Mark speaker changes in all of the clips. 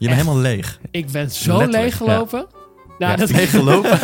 Speaker 1: Je bent
Speaker 2: Echt?
Speaker 1: helemaal leeg.
Speaker 2: Ik ben zo
Speaker 1: Letterlijk,
Speaker 2: leeggelopen. Nou,
Speaker 1: Ja,
Speaker 2: dat,
Speaker 1: leeggelopen.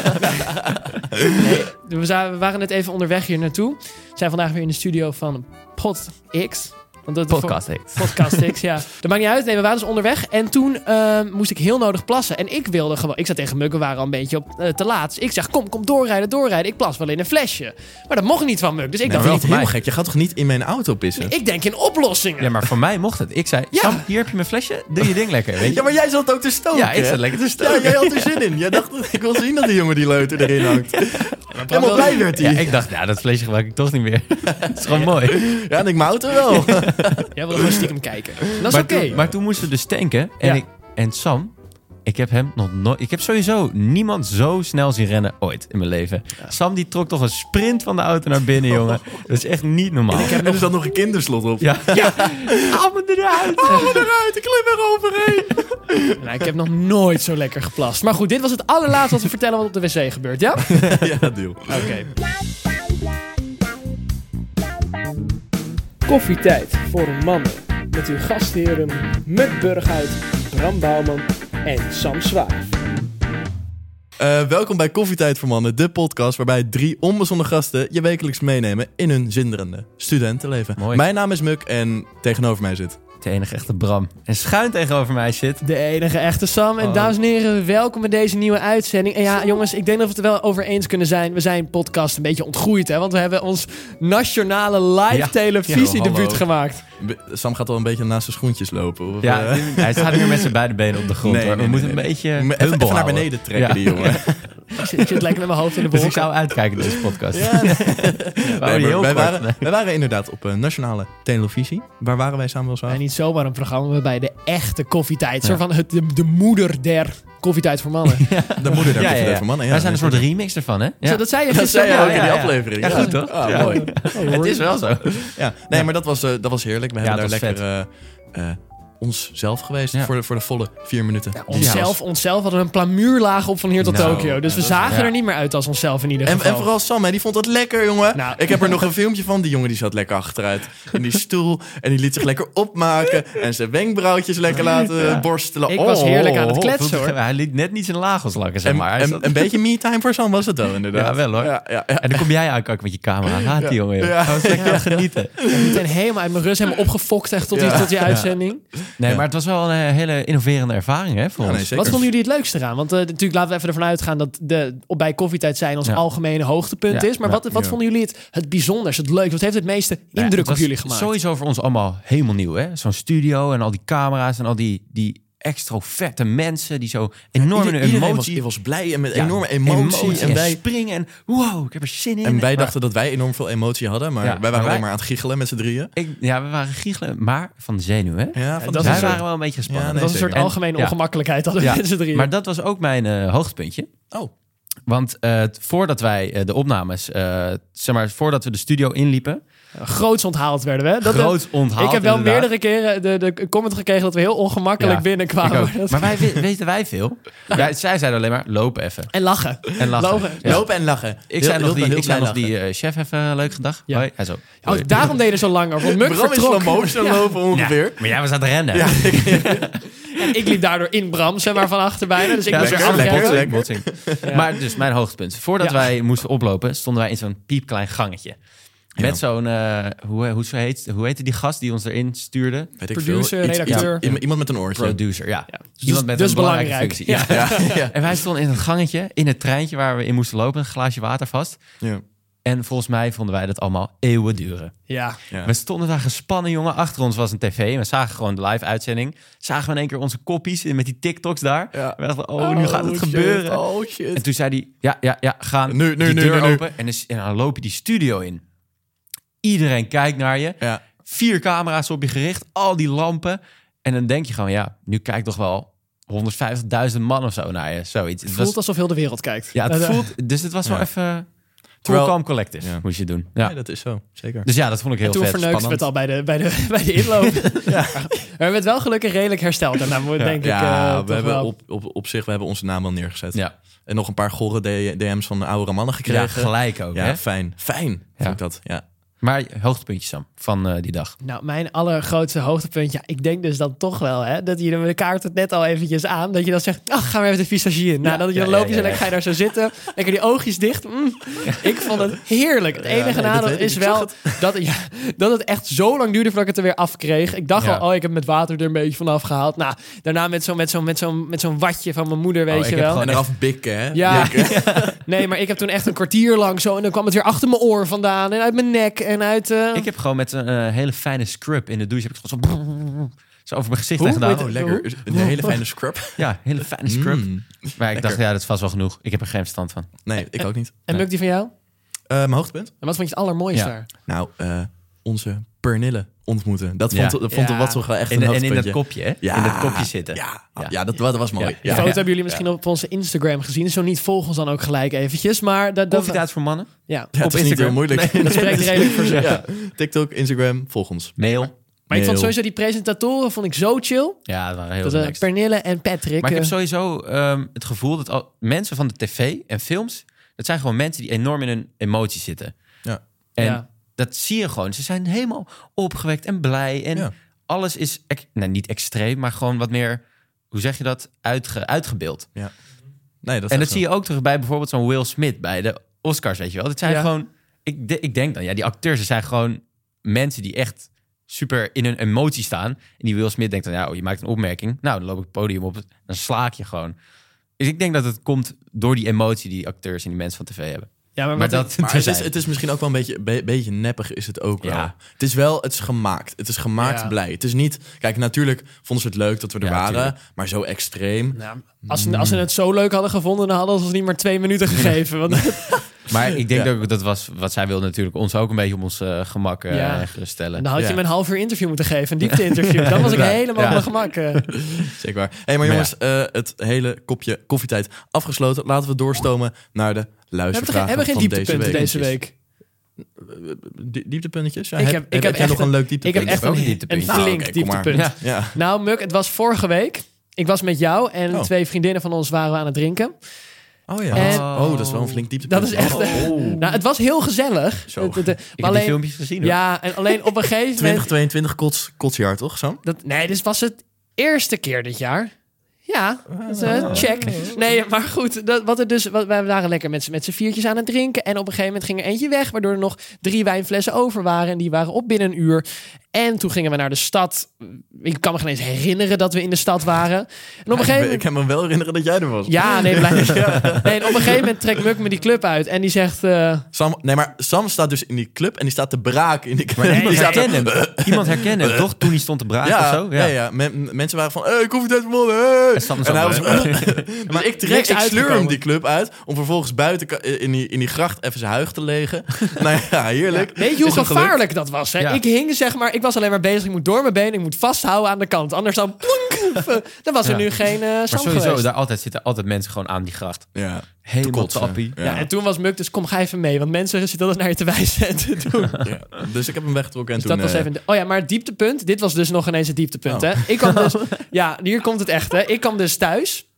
Speaker 2: we, za- we waren net even onderweg hier naartoe. We zijn vandaag weer in de studio van PodX. Want dat
Speaker 1: Podcast
Speaker 2: Podcast X, ja. Dat maakt niet uit. Nee, we waren dus onderweg. En toen eh, moest ik heel nodig plassen. En ik wilde gewoon... Ik zat tegen Muk, we waren al een beetje op, eh, te laat. Dus ik zeg, kom, kom, doorrijden, doorrijden. Ik plas wel in een flesje. Maar dat mocht niet van Muk. Dus ik
Speaker 1: Ik dacht
Speaker 2: dacht,
Speaker 1: wel
Speaker 2: niet
Speaker 1: heel
Speaker 2: heel gek.
Speaker 1: gek. Je gaat toch niet in mijn auto pissen?
Speaker 2: Ik denk in oplossingen.
Speaker 3: Ja, maar voor mij mocht het. Ik zei,
Speaker 2: Ja.
Speaker 3: Sam, hier heb je mijn flesje. Doe je ding lekker, weet je.
Speaker 1: Ja, maar jij zat ook te stoken.
Speaker 3: Ja, ik
Speaker 1: hè?
Speaker 3: zat lekker te
Speaker 1: Ja,
Speaker 3: stoken.
Speaker 1: jij had er zin in. Jij dacht, ik wil zien dat die jongen die leuter erin hangt. Helemaal
Speaker 2: Bram
Speaker 1: blij
Speaker 2: wilde-
Speaker 1: werd
Speaker 3: Ja,
Speaker 1: hij.
Speaker 3: ik dacht, nou, dat flesje gebruik ik toch niet meer. Het is gewoon mooi.
Speaker 1: Ja, en ik mijn auto wel.
Speaker 2: Jij wilde gewoon stiekem kijken. Dat is
Speaker 3: maar,
Speaker 2: oké.
Speaker 3: toen, maar toen moesten we dus tanken. En,
Speaker 2: Ja.
Speaker 3: ik, en Sam, ik heb hem nog nooit... Ik heb sowieso niemand zo snel zien rennen ooit in mijn leven. Sam, die trok toch een sprint van de auto naar binnen, jongen. Dat is echt niet normaal.
Speaker 1: Oh. Ik heb er zat nog een kinderslot op.
Speaker 3: Ja. ja. Allemaal eruit.
Speaker 1: Eruit, ik klim er overheen.
Speaker 2: Nou, ik heb nog nooit zo lekker geplast. Maar goed, dit was het allerlaatste wat we vertellen wat op de wc gebeurt, ja? Oké.
Speaker 1: Ja, deal.
Speaker 2: Koffietijd voor mannen. Met uw gastheren Muk Burghuis, Bram Bouwman en Sam Zwaar.
Speaker 1: Eh, welkom bij Koffietijd voor Mannen, de podcast waarbij drie onbezonnen gasten je wekelijks meenemen in hun zinderende studentenleven.
Speaker 3: Mooi.
Speaker 1: Mijn naam is Muk en tegenover mij zit.
Speaker 3: De enige echte Bram. En schuin tegenover mij zit...
Speaker 2: De enige echte Sam.
Speaker 3: Oh.
Speaker 2: En dames en heren, welkom bij deze nieuwe uitzending. En ja, jongens, ik denk dat we het er wel over eens kunnen zijn. We zijn podcast een beetje ontgroeid, hè? Want we hebben ons nationale live
Speaker 3: Ja.
Speaker 2: televisiedebuut
Speaker 1: hallo.
Speaker 2: gemaakt.
Speaker 1: B- Sam gaat al een beetje naast zijn schoentjes lopen. Of,
Speaker 3: Ja,
Speaker 1: eh,
Speaker 3: hij staat hier met zijn beide benen op de grond.
Speaker 1: Nee,
Speaker 3: hoor. We
Speaker 1: nee,
Speaker 3: moeten
Speaker 1: nee,
Speaker 3: een
Speaker 1: nee.
Speaker 3: beetje
Speaker 1: Even-
Speaker 3: humble
Speaker 1: even, naar
Speaker 3: houden.
Speaker 1: beneden trekken,
Speaker 3: Ja.
Speaker 1: die jongen.
Speaker 2: Ik zit, ik zit lekker met mijn hoofd in de
Speaker 3: Dus
Speaker 2: wolken.
Speaker 3: ik zou uitkijken deze podcast.
Speaker 1: Ja, nee,
Speaker 3: We
Speaker 1: maar
Speaker 3: houden die heel
Speaker 1: wij,
Speaker 3: kort.
Speaker 1: waren, wij waren inderdaad op eh, nationale televisie. Waar waren wij samen wel zo?
Speaker 2: En niet zomaar een programma, maar bij de echte koffietijd. Een soort van het, de, de moeder der koffietijd voor mannen.
Speaker 1: De moeder daar
Speaker 3: Ja, ja,
Speaker 1: ja,
Speaker 3: ja.
Speaker 1: van mannen. Ja, dus
Speaker 3: wij zijn een soort remix ervan, hè?
Speaker 2: Zo, dat zei je
Speaker 1: Dat zei je
Speaker 2: gisteren.
Speaker 1: ook in
Speaker 3: ja,
Speaker 1: die
Speaker 3: ja.
Speaker 1: aflevering.
Speaker 3: Ja, goed, toch?
Speaker 1: Ah,
Speaker 3: Ja.
Speaker 1: mooi.
Speaker 2: Oh,
Speaker 3: Het
Speaker 2: hoor.
Speaker 3: is wel zo.
Speaker 1: Ja. Nee, maar dat was, eh, dat was heerlijk. We
Speaker 3: Ja,
Speaker 1: hebben daar
Speaker 3: dat was
Speaker 1: lekker eh, eh, onszelf geweest
Speaker 3: Ja.
Speaker 1: voor, de, voor de volle vier minuten.
Speaker 2: Onszelf, onszelf hadden we een plamuurlaag op van hier tot
Speaker 3: Nou,
Speaker 2: Tokio. Dus we
Speaker 1: ja, dat-
Speaker 2: zagen
Speaker 3: ja.
Speaker 2: er niet meer uit als onszelf in ieder
Speaker 1: En,
Speaker 2: geval.
Speaker 1: en vooral Sam, hè, die vond dat lekker, jongen.
Speaker 2: Nou.
Speaker 1: ik heb er nog een filmpje van. Die jongen die zat lekker achteruit in die stoel. En die liet zich lekker opmaken. En zijn wenkbrauwtjes lekker laten eh, borstelen.
Speaker 2: Ik was heerlijk aan het kletsen,
Speaker 3: voelt-
Speaker 2: hoor.
Speaker 3: Oh, Hij liet net niet zijn lagels lakken, zeg
Speaker 1: En,
Speaker 3: maar. Hij
Speaker 1: en-
Speaker 3: zat-
Speaker 1: een beetje me-time voor Sam was het wel, inderdaad.
Speaker 3: Ja, wel, hoor.
Speaker 1: Ja, ja, Ah, ja.
Speaker 3: En dan kom jij aankijken met je camera. Haat die jongen, joh.
Speaker 1: Ja.
Speaker 3: Hij was lekker aan het genieten.
Speaker 2: Meteen helemaal uit mijn rust, helemaal opgefokt echt tot, die, tot die uitzending.
Speaker 3: Nee, maar het was wel een eh, hele innoverende ervaring, hè, voor
Speaker 1: Ja, nee,
Speaker 3: ons.
Speaker 1: zeker.
Speaker 2: Wat vonden jullie het leukste eraan? Want eh, natuurlijk laten we even ervan uitgaan dat de, op, bij koffietijd zijn ons
Speaker 3: Ja.
Speaker 2: algemene hoogtepunt
Speaker 3: Ja.
Speaker 2: is. Maar wat, wat
Speaker 1: Ja.
Speaker 2: vonden jullie het, het bijzonders, het leukste? Wat heeft het meeste
Speaker 3: Nou ja,
Speaker 2: indruk
Speaker 3: het
Speaker 2: op
Speaker 3: was
Speaker 2: jullie gemaakt?
Speaker 3: Sowieso voor ons allemaal helemaal nieuw, hè? Zo'n studio en al die camera's en al die, die extroverte mensen die zo enorme
Speaker 1: Ieder-
Speaker 3: emotie...
Speaker 1: iedereen was, die was blij en met
Speaker 3: Ja,
Speaker 1: enorme emotie. en, wij,
Speaker 3: springen en wow, ik heb er zin in.
Speaker 1: en wij
Speaker 3: Maar-
Speaker 1: dachten dat wij enorm veel emotie hadden. Maar
Speaker 3: Ja,
Speaker 1: wij
Speaker 3: maar
Speaker 1: waren alleen
Speaker 3: wij-
Speaker 1: maar aan het giechelen met z'n drieën.
Speaker 3: Ik, ja, we waren giechelen, maar van de zenuw, hè?
Speaker 1: Ja,
Speaker 2: dat
Speaker 1: de
Speaker 2: is
Speaker 3: Wij
Speaker 2: een soort-
Speaker 3: waren wel een beetje gespannen.
Speaker 1: Ja,
Speaker 2: dat
Speaker 1: nee,
Speaker 2: was een soort
Speaker 1: zeker.
Speaker 2: algemene
Speaker 3: En- ja.
Speaker 2: ongemakkelijkheid hadden we
Speaker 3: Ja,
Speaker 2: met z'n drieën.
Speaker 3: Maar dat was ook mijn eh, hoogtepuntje.
Speaker 1: Oh.
Speaker 3: Want eh, t- voordat wij eh, de opnames, eh, zeg maar, voordat we de studio inliepen,
Speaker 2: Groots onthaald werden we. Dat
Speaker 3: groot onthaald.
Speaker 2: ik heb wel
Speaker 3: inderdaad.
Speaker 2: meerdere keren de, de comment gekregen dat we heel ongemakkelijk
Speaker 3: Ja,
Speaker 2: binnenkwamen.
Speaker 3: Ik ook.
Speaker 2: Dat-
Speaker 3: Maar wij, we- weten wij veel? Ja, zij zeiden alleen maar, loop even.
Speaker 2: En lachen.
Speaker 3: En lachen.
Speaker 2: Lopen.
Speaker 3: Ja.
Speaker 1: Lopen en lachen.
Speaker 3: Ik zei nog die, ik zei nog
Speaker 1: die
Speaker 3: die eh, chef even een leuk gedag.
Speaker 2: Ja.
Speaker 3: Hoi. Hij zo.
Speaker 2: Oh,
Speaker 3: hoi.
Speaker 2: daarom deden ze zo lang over. want Muk
Speaker 1: Bram is
Speaker 2: vertrok.
Speaker 1: slow motion lopen ongeveer.
Speaker 3: Maar jij was aan het rennen. Ja,
Speaker 2: En ik liep daardoor in Bram, zeg maar, van achter bijna. Dus ik moest
Speaker 3: dat
Speaker 2: weer
Speaker 3: is
Speaker 1: lekker.
Speaker 2: afrennen.
Speaker 3: botsing, botsing. Maar dus mijn hoogtepunt. Voordat
Speaker 2: Ja.
Speaker 3: wij moesten oplopen, stonden wij in zo'n piepklein gangetje. Met
Speaker 1: Ja.
Speaker 3: zo'n, eh, hoe, hoe, zo heet, hoe heette die gast die ons erin stuurde?
Speaker 1: Weet ik
Speaker 2: Producer,
Speaker 1: Iets-
Speaker 2: redacteur.
Speaker 1: iets- iemand- Iemand met een oortje.
Speaker 3: Producer, ja.
Speaker 2: Ja. Dus-
Speaker 3: Iemand met
Speaker 2: dus
Speaker 3: een belangrijke
Speaker 2: belangrijk.
Speaker 3: functie. Ja.
Speaker 1: Ja, ja.
Speaker 3: En wij stonden in het gangetje, in het treintje waar we in moesten lopen, een glaasje water vast.
Speaker 1: ja.
Speaker 3: En volgens mij vonden wij dat allemaal eeuwen duren.
Speaker 2: Ja.
Speaker 1: Ja.
Speaker 3: We stonden daar gespannen, jongen. Achter ons was een tv. En we zagen gewoon de live-uitzending. Zagen we in één keer onze koppies in- met die TikToks daar.
Speaker 1: Ja.
Speaker 3: We dachten, oh, nu gaat het
Speaker 1: shit.
Speaker 3: gebeuren.
Speaker 1: Oh shit.
Speaker 3: En toen zei hij, ja, ja, ja, gaan.
Speaker 1: Nu, nu,
Speaker 3: die
Speaker 1: nu,
Speaker 3: deur
Speaker 1: nu, nu.
Speaker 3: open. En, dus- en dan loop je die studio in. Iedereen kijkt naar je.
Speaker 1: Ja.
Speaker 3: Vier camera's op je gericht. Al die lampen. En dan denk je gewoon, ja, nu kijkt toch wel 150.000 man of zo naar je. Zoiets.
Speaker 2: Het
Speaker 3: Het
Speaker 2: voelt
Speaker 3: was,
Speaker 2: alsof heel de wereld kijkt.
Speaker 3: ja, het
Speaker 2: Eh,
Speaker 3: voelt, dus het was wel
Speaker 1: Ja.
Speaker 3: even... Terwijl,
Speaker 1: Terwijl-
Speaker 3: calm collective
Speaker 1: Ja.
Speaker 3: moest je doen. Ja.
Speaker 1: Nee, dat is zo. Zeker.
Speaker 3: Dus ja, dat vond ik heel
Speaker 2: Toen
Speaker 3: vet.
Speaker 2: verneukten we het
Speaker 3: spannend.
Speaker 2: al bij de, bij de, bij de inloop. Maar we werd wel gelukkig redelijk hersteld. Daarna moet- denk ik eh,
Speaker 1: ja,
Speaker 2: toch
Speaker 1: we hebben
Speaker 2: wel.
Speaker 1: op, op, op zich we hebben onze naam wel neergezet.
Speaker 3: Ja,
Speaker 1: En nog een paar gore D- DM's van oudere mannen
Speaker 3: ja
Speaker 1: gekregen.
Speaker 3: gelijk ook.
Speaker 1: Ja,
Speaker 3: Hè?
Speaker 1: fijn. Fijn,
Speaker 3: Ja.
Speaker 1: vind ik dat. Ja.
Speaker 3: Maar hoogtepuntje, Sam, van eh, die dag.
Speaker 2: Nou, mijn allergrootste hoogtepunt. Ja, ik denk dus dan toch wel, hè. Dat je de kaart het net al eventjes aan. Dat je dan zegt, oh, gaan we even de visagie in. Nou,
Speaker 3: Ja,
Speaker 2: dan,
Speaker 3: ja,
Speaker 2: dan loop je
Speaker 3: ja, ja,
Speaker 2: zo lekker,
Speaker 3: ja.
Speaker 2: ga je daar zo zitten. Lekker die oogjes dicht. Mm. Ik vond het heerlijk. Het enige
Speaker 1: nee, dat
Speaker 2: nadeel
Speaker 1: weet ik.
Speaker 2: is
Speaker 1: Ik zag
Speaker 2: wel dat, ja, dat het echt zo lang duurde voordat ik het er weer afkreeg. Ik dacht
Speaker 3: Ja.
Speaker 2: al, oh, ik heb met water er een beetje vanaf gehaald. Nou, daarna met zo'n met zo'n met zo'n met zo'n watje van mijn moeder, weet
Speaker 3: Oh, ik
Speaker 2: je
Speaker 3: heb
Speaker 2: wel.
Speaker 3: gewoon
Speaker 1: En eraf bikken, hè?
Speaker 2: Ja. nee, maar ik heb toen echt een kwartier lang zo. En dan kwam het weer achter mijn oor vandaan. En uit mijn nek. En uit. eh,
Speaker 3: Ik heb gewoon met een eh, hele fijne scrub in de douche... heb ik het gewoon zo, zo over mijn gezicht heen
Speaker 1: Gedaan.
Speaker 3: gedaan.
Speaker 1: Oh, lekker. Een hele fijne scrub.
Speaker 3: Ja, hele fijne scrub.
Speaker 1: Mm.
Speaker 3: Maar ik dacht,
Speaker 1: Lekker.
Speaker 3: ja, dat is vast wel genoeg. Ik heb er geen verstand van.
Speaker 1: Nee, ik ook niet.
Speaker 2: En lukt die van jou?
Speaker 1: Eh, mijn hoogtepunt?
Speaker 2: En wat vond je het allermooiste
Speaker 3: Ja.
Speaker 2: daar?
Speaker 1: Nou, eh, onze Pernille ontmoeten. Dat
Speaker 3: Ja.
Speaker 1: vond, dat vond
Speaker 2: Ja.
Speaker 1: wat toch wel echt
Speaker 3: En,
Speaker 1: een
Speaker 3: en in dat
Speaker 1: hoogtepuntje.
Speaker 3: kopje, hè?
Speaker 1: Ja.
Speaker 3: In dat kopje zitten.
Speaker 1: Ja,
Speaker 3: Ja.
Speaker 1: ja. dat, dat was mooi.
Speaker 3: Ja.
Speaker 2: Die
Speaker 1: Ja.
Speaker 2: foto hebben jullie misschien op onze Instagram gezien. Dus Zo niet, volg ons dan ook gelijk eventjes. Maar dat, dat,
Speaker 3: Koffietijd voor mannen.
Speaker 2: ja.
Speaker 1: Ja, het is niet heel
Speaker 3: Instagram.
Speaker 1: moeilijk.
Speaker 2: dat spreekt redelijk voor zich.
Speaker 1: Ja. TikTok, Instagram, volg ons.
Speaker 3: Mail.
Speaker 2: Maar ik vond
Speaker 1: Heel.
Speaker 2: sowieso die presentatoren vond ik zo chill.
Speaker 3: Ja, dat waren heel
Speaker 2: Dat, eh,
Speaker 3: relaxed.
Speaker 2: Pernille en Patrick.
Speaker 3: Maar ik heb
Speaker 2: eh,
Speaker 3: sowieso ehm, het gevoel dat al, mensen van de tv en films... dat zijn gewoon mensen die enorm in hun emotie zitten.
Speaker 1: Ja.
Speaker 3: En
Speaker 2: Ja.
Speaker 3: dat zie je gewoon. Ze zijn helemaal opgewekt en blij. En
Speaker 1: Ja.
Speaker 3: alles is, ex- nou, niet extreem, maar gewoon wat meer... hoe zeg je dat? Uitge, uitgebeeld.
Speaker 1: Nee, dat is
Speaker 3: en
Speaker 1: echt
Speaker 3: dat
Speaker 1: zo.
Speaker 3: zie je ook terug bij bijvoorbeeld zo'n Will Smith... bij de Oscars, weet je wel. Dat zijn
Speaker 2: Ja.
Speaker 3: gewoon... Ik, de- ik denk dan, ja, die acteurs dat zijn gewoon mensen die echt super in hun emotie staan. En die Will Smith denkt dan, ja, oh, je maakt een opmerking. Nou, dan loop ik het podium op, dan slaak je gewoon. Dus ik denk dat het komt door die emotie die acteurs en die mensen van tv hebben.
Speaker 2: ja, maar,
Speaker 3: Maar
Speaker 2: wat ik-
Speaker 3: dat
Speaker 1: Maar het is,
Speaker 3: terzijde.
Speaker 1: het is misschien ook wel een beetje, be- beetje neppig, is het ook wel.
Speaker 3: Ja.
Speaker 1: Het is wel, het is gemaakt. Het is gemaakt
Speaker 2: Ja.
Speaker 1: blij. Het is niet, kijk, natuurlijk vonden ze het leuk dat we er
Speaker 3: Ja,
Speaker 1: waren,
Speaker 3: tuurlijk.
Speaker 1: maar zo extreem.
Speaker 2: nou, als, ze, als ze het zo leuk hadden gevonden, dan hadden ze ons niet maar twee minuten gegeven. Want
Speaker 3: Maar ik denk
Speaker 1: Ja.
Speaker 3: ook dat was wat zij wilde natuurlijk ons ook een beetje op ons eh, gemak eh,
Speaker 2: Ja.
Speaker 3: geruststellen.
Speaker 2: dan had je
Speaker 1: Ja. Nou,
Speaker 2: me een half uur interview moeten geven, een diepte interview. Dan was ik helemaal
Speaker 3: Ja.
Speaker 2: op mijn gemak. eh.
Speaker 1: Zeker waar. Hé, maar
Speaker 3: Maar
Speaker 1: jongens, eh, het hele kopje koffietijd afgesloten. Laten we doorstomen naar de
Speaker 2: We hebben,
Speaker 1: luistervragen
Speaker 2: geen- hebben geen
Speaker 1: van deze
Speaker 2: dieptepunten
Speaker 1: week.
Speaker 2: deze week.
Speaker 1: Die- Dieptepuntjes? Ja,
Speaker 2: Ik
Speaker 1: heb,
Speaker 2: heb- ik
Speaker 1: heb,
Speaker 2: heb
Speaker 1: heb jij
Speaker 2: echt
Speaker 1: nog een leuk
Speaker 2: Ik heb
Speaker 1: dieptepunt?
Speaker 2: echt
Speaker 3: heb ook
Speaker 2: een,
Speaker 3: een
Speaker 2: een
Speaker 3: dieptepunt.
Speaker 2: flink
Speaker 1: Ah, oké, kom maar.
Speaker 2: dieptepunt.
Speaker 3: Ja.
Speaker 1: Ja,
Speaker 2: Nou, Muk, het was vorige week. Ik was met jou en
Speaker 1: Oh.
Speaker 2: twee vriendinnen van ons waren we aan het drinken.
Speaker 1: oh ja.
Speaker 2: En-
Speaker 1: oh, dat is wel een flink dieptepunt.
Speaker 2: Dat is echt- Nou, het was heel gezellig.
Speaker 1: Zo.
Speaker 2: Het- het- het- maar
Speaker 3: Oh. Ik heb die
Speaker 2: alleen,
Speaker 3: filmpjes gezien. hoor.
Speaker 2: ja, en alleen op een gegeven moment.
Speaker 1: 2022 kots, kotsjaar, toch, Sam?
Speaker 2: Dat, nee, dit was het eerste keer dit jaar. Ja,
Speaker 3: Ah,
Speaker 2: dat, eh,
Speaker 3: nou.
Speaker 2: check.
Speaker 3: Oh.
Speaker 2: Nee, maar goed. Dat, wat er dus, wat, wij waren lekker met, z'n- met z'n viertjes aan het drinken. En op een gegeven moment ging er eentje weg. Waardoor er nog drie wijnflessen over waren. En die waren op binnen een uur. En toen gingen we naar de stad. Ik kan me geen eens herinneren dat we in de stad waren. En op een gegeven moment...
Speaker 1: Ik kan me wel herinneren dat jij er was.
Speaker 2: Ja, nee, blijkbaar. Nee, en op een gegeven moment trekt Muk me die club uit en die zegt... eh,
Speaker 1: Sam, nee, maar Sam staat dus in die club en die staat te braken in die club.
Speaker 3: Maar
Speaker 1: Die
Speaker 3: iemand
Speaker 1: staat te-
Speaker 3: herkende hem. Iemand herkende hem, toch? Toen hij stond te braken
Speaker 1: Ja,
Speaker 3: of zo.
Speaker 1: ja, ja. Men- mensen waren van, hey, koffietijd voor mannen, hey.
Speaker 3: En Sam
Speaker 1: En hij
Speaker 3: zo,
Speaker 1: was, maar ik trek,
Speaker 2: niks
Speaker 1: ik sleur
Speaker 2: uitgekomen.
Speaker 1: hem die club uit om vervolgens buiten ka- in die, in die gracht even zijn huig te legen. nou ja, heerlijk.
Speaker 2: weet je hoe
Speaker 1: Is hem gelukt.
Speaker 2: gevaarlijk dat was? Hè?
Speaker 3: Ja.
Speaker 2: Ik hing, zeg maar, ik was alleen maar bezig. Ik moet door mijn been, ik moet vasthouden aan de kant. Anders dan... plonk, of, eh, dan was er
Speaker 3: Ja.
Speaker 2: nu geen eh Sam
Speaker 3: Maar sowieso,
Speaker 2: geweest.
Speaker 3: daar altijd, zitten altijd mensen gewoon aan die gracht.
Speaker 1: Ja, te
Speaker 3: Helemaal
Speaker 1: kotsen.
Speaker 3: tappie.
Speaker 1: Ja.
Speaker 2: Ja, en toen was Muk dus, kom, ga even mee. Want mensen zitten altijd naar je te wijzen en te doen.
Speaker 1: Ja. Dus ik heb hem weggetrokken en
Speaker 2: Dus
Speaker 1: toen...
Speaker 2: dat was
Speaker 1: eh,
Speaker 2: even... Oh ja, maar het dieptepunt. Dit was dus nog ineens het dieptepunt,
Speaker 1: Oh.
Speaker 2: hè? Ik kwam dus... Ja, hier komt het echt, hè? Ik kwam dus thuis...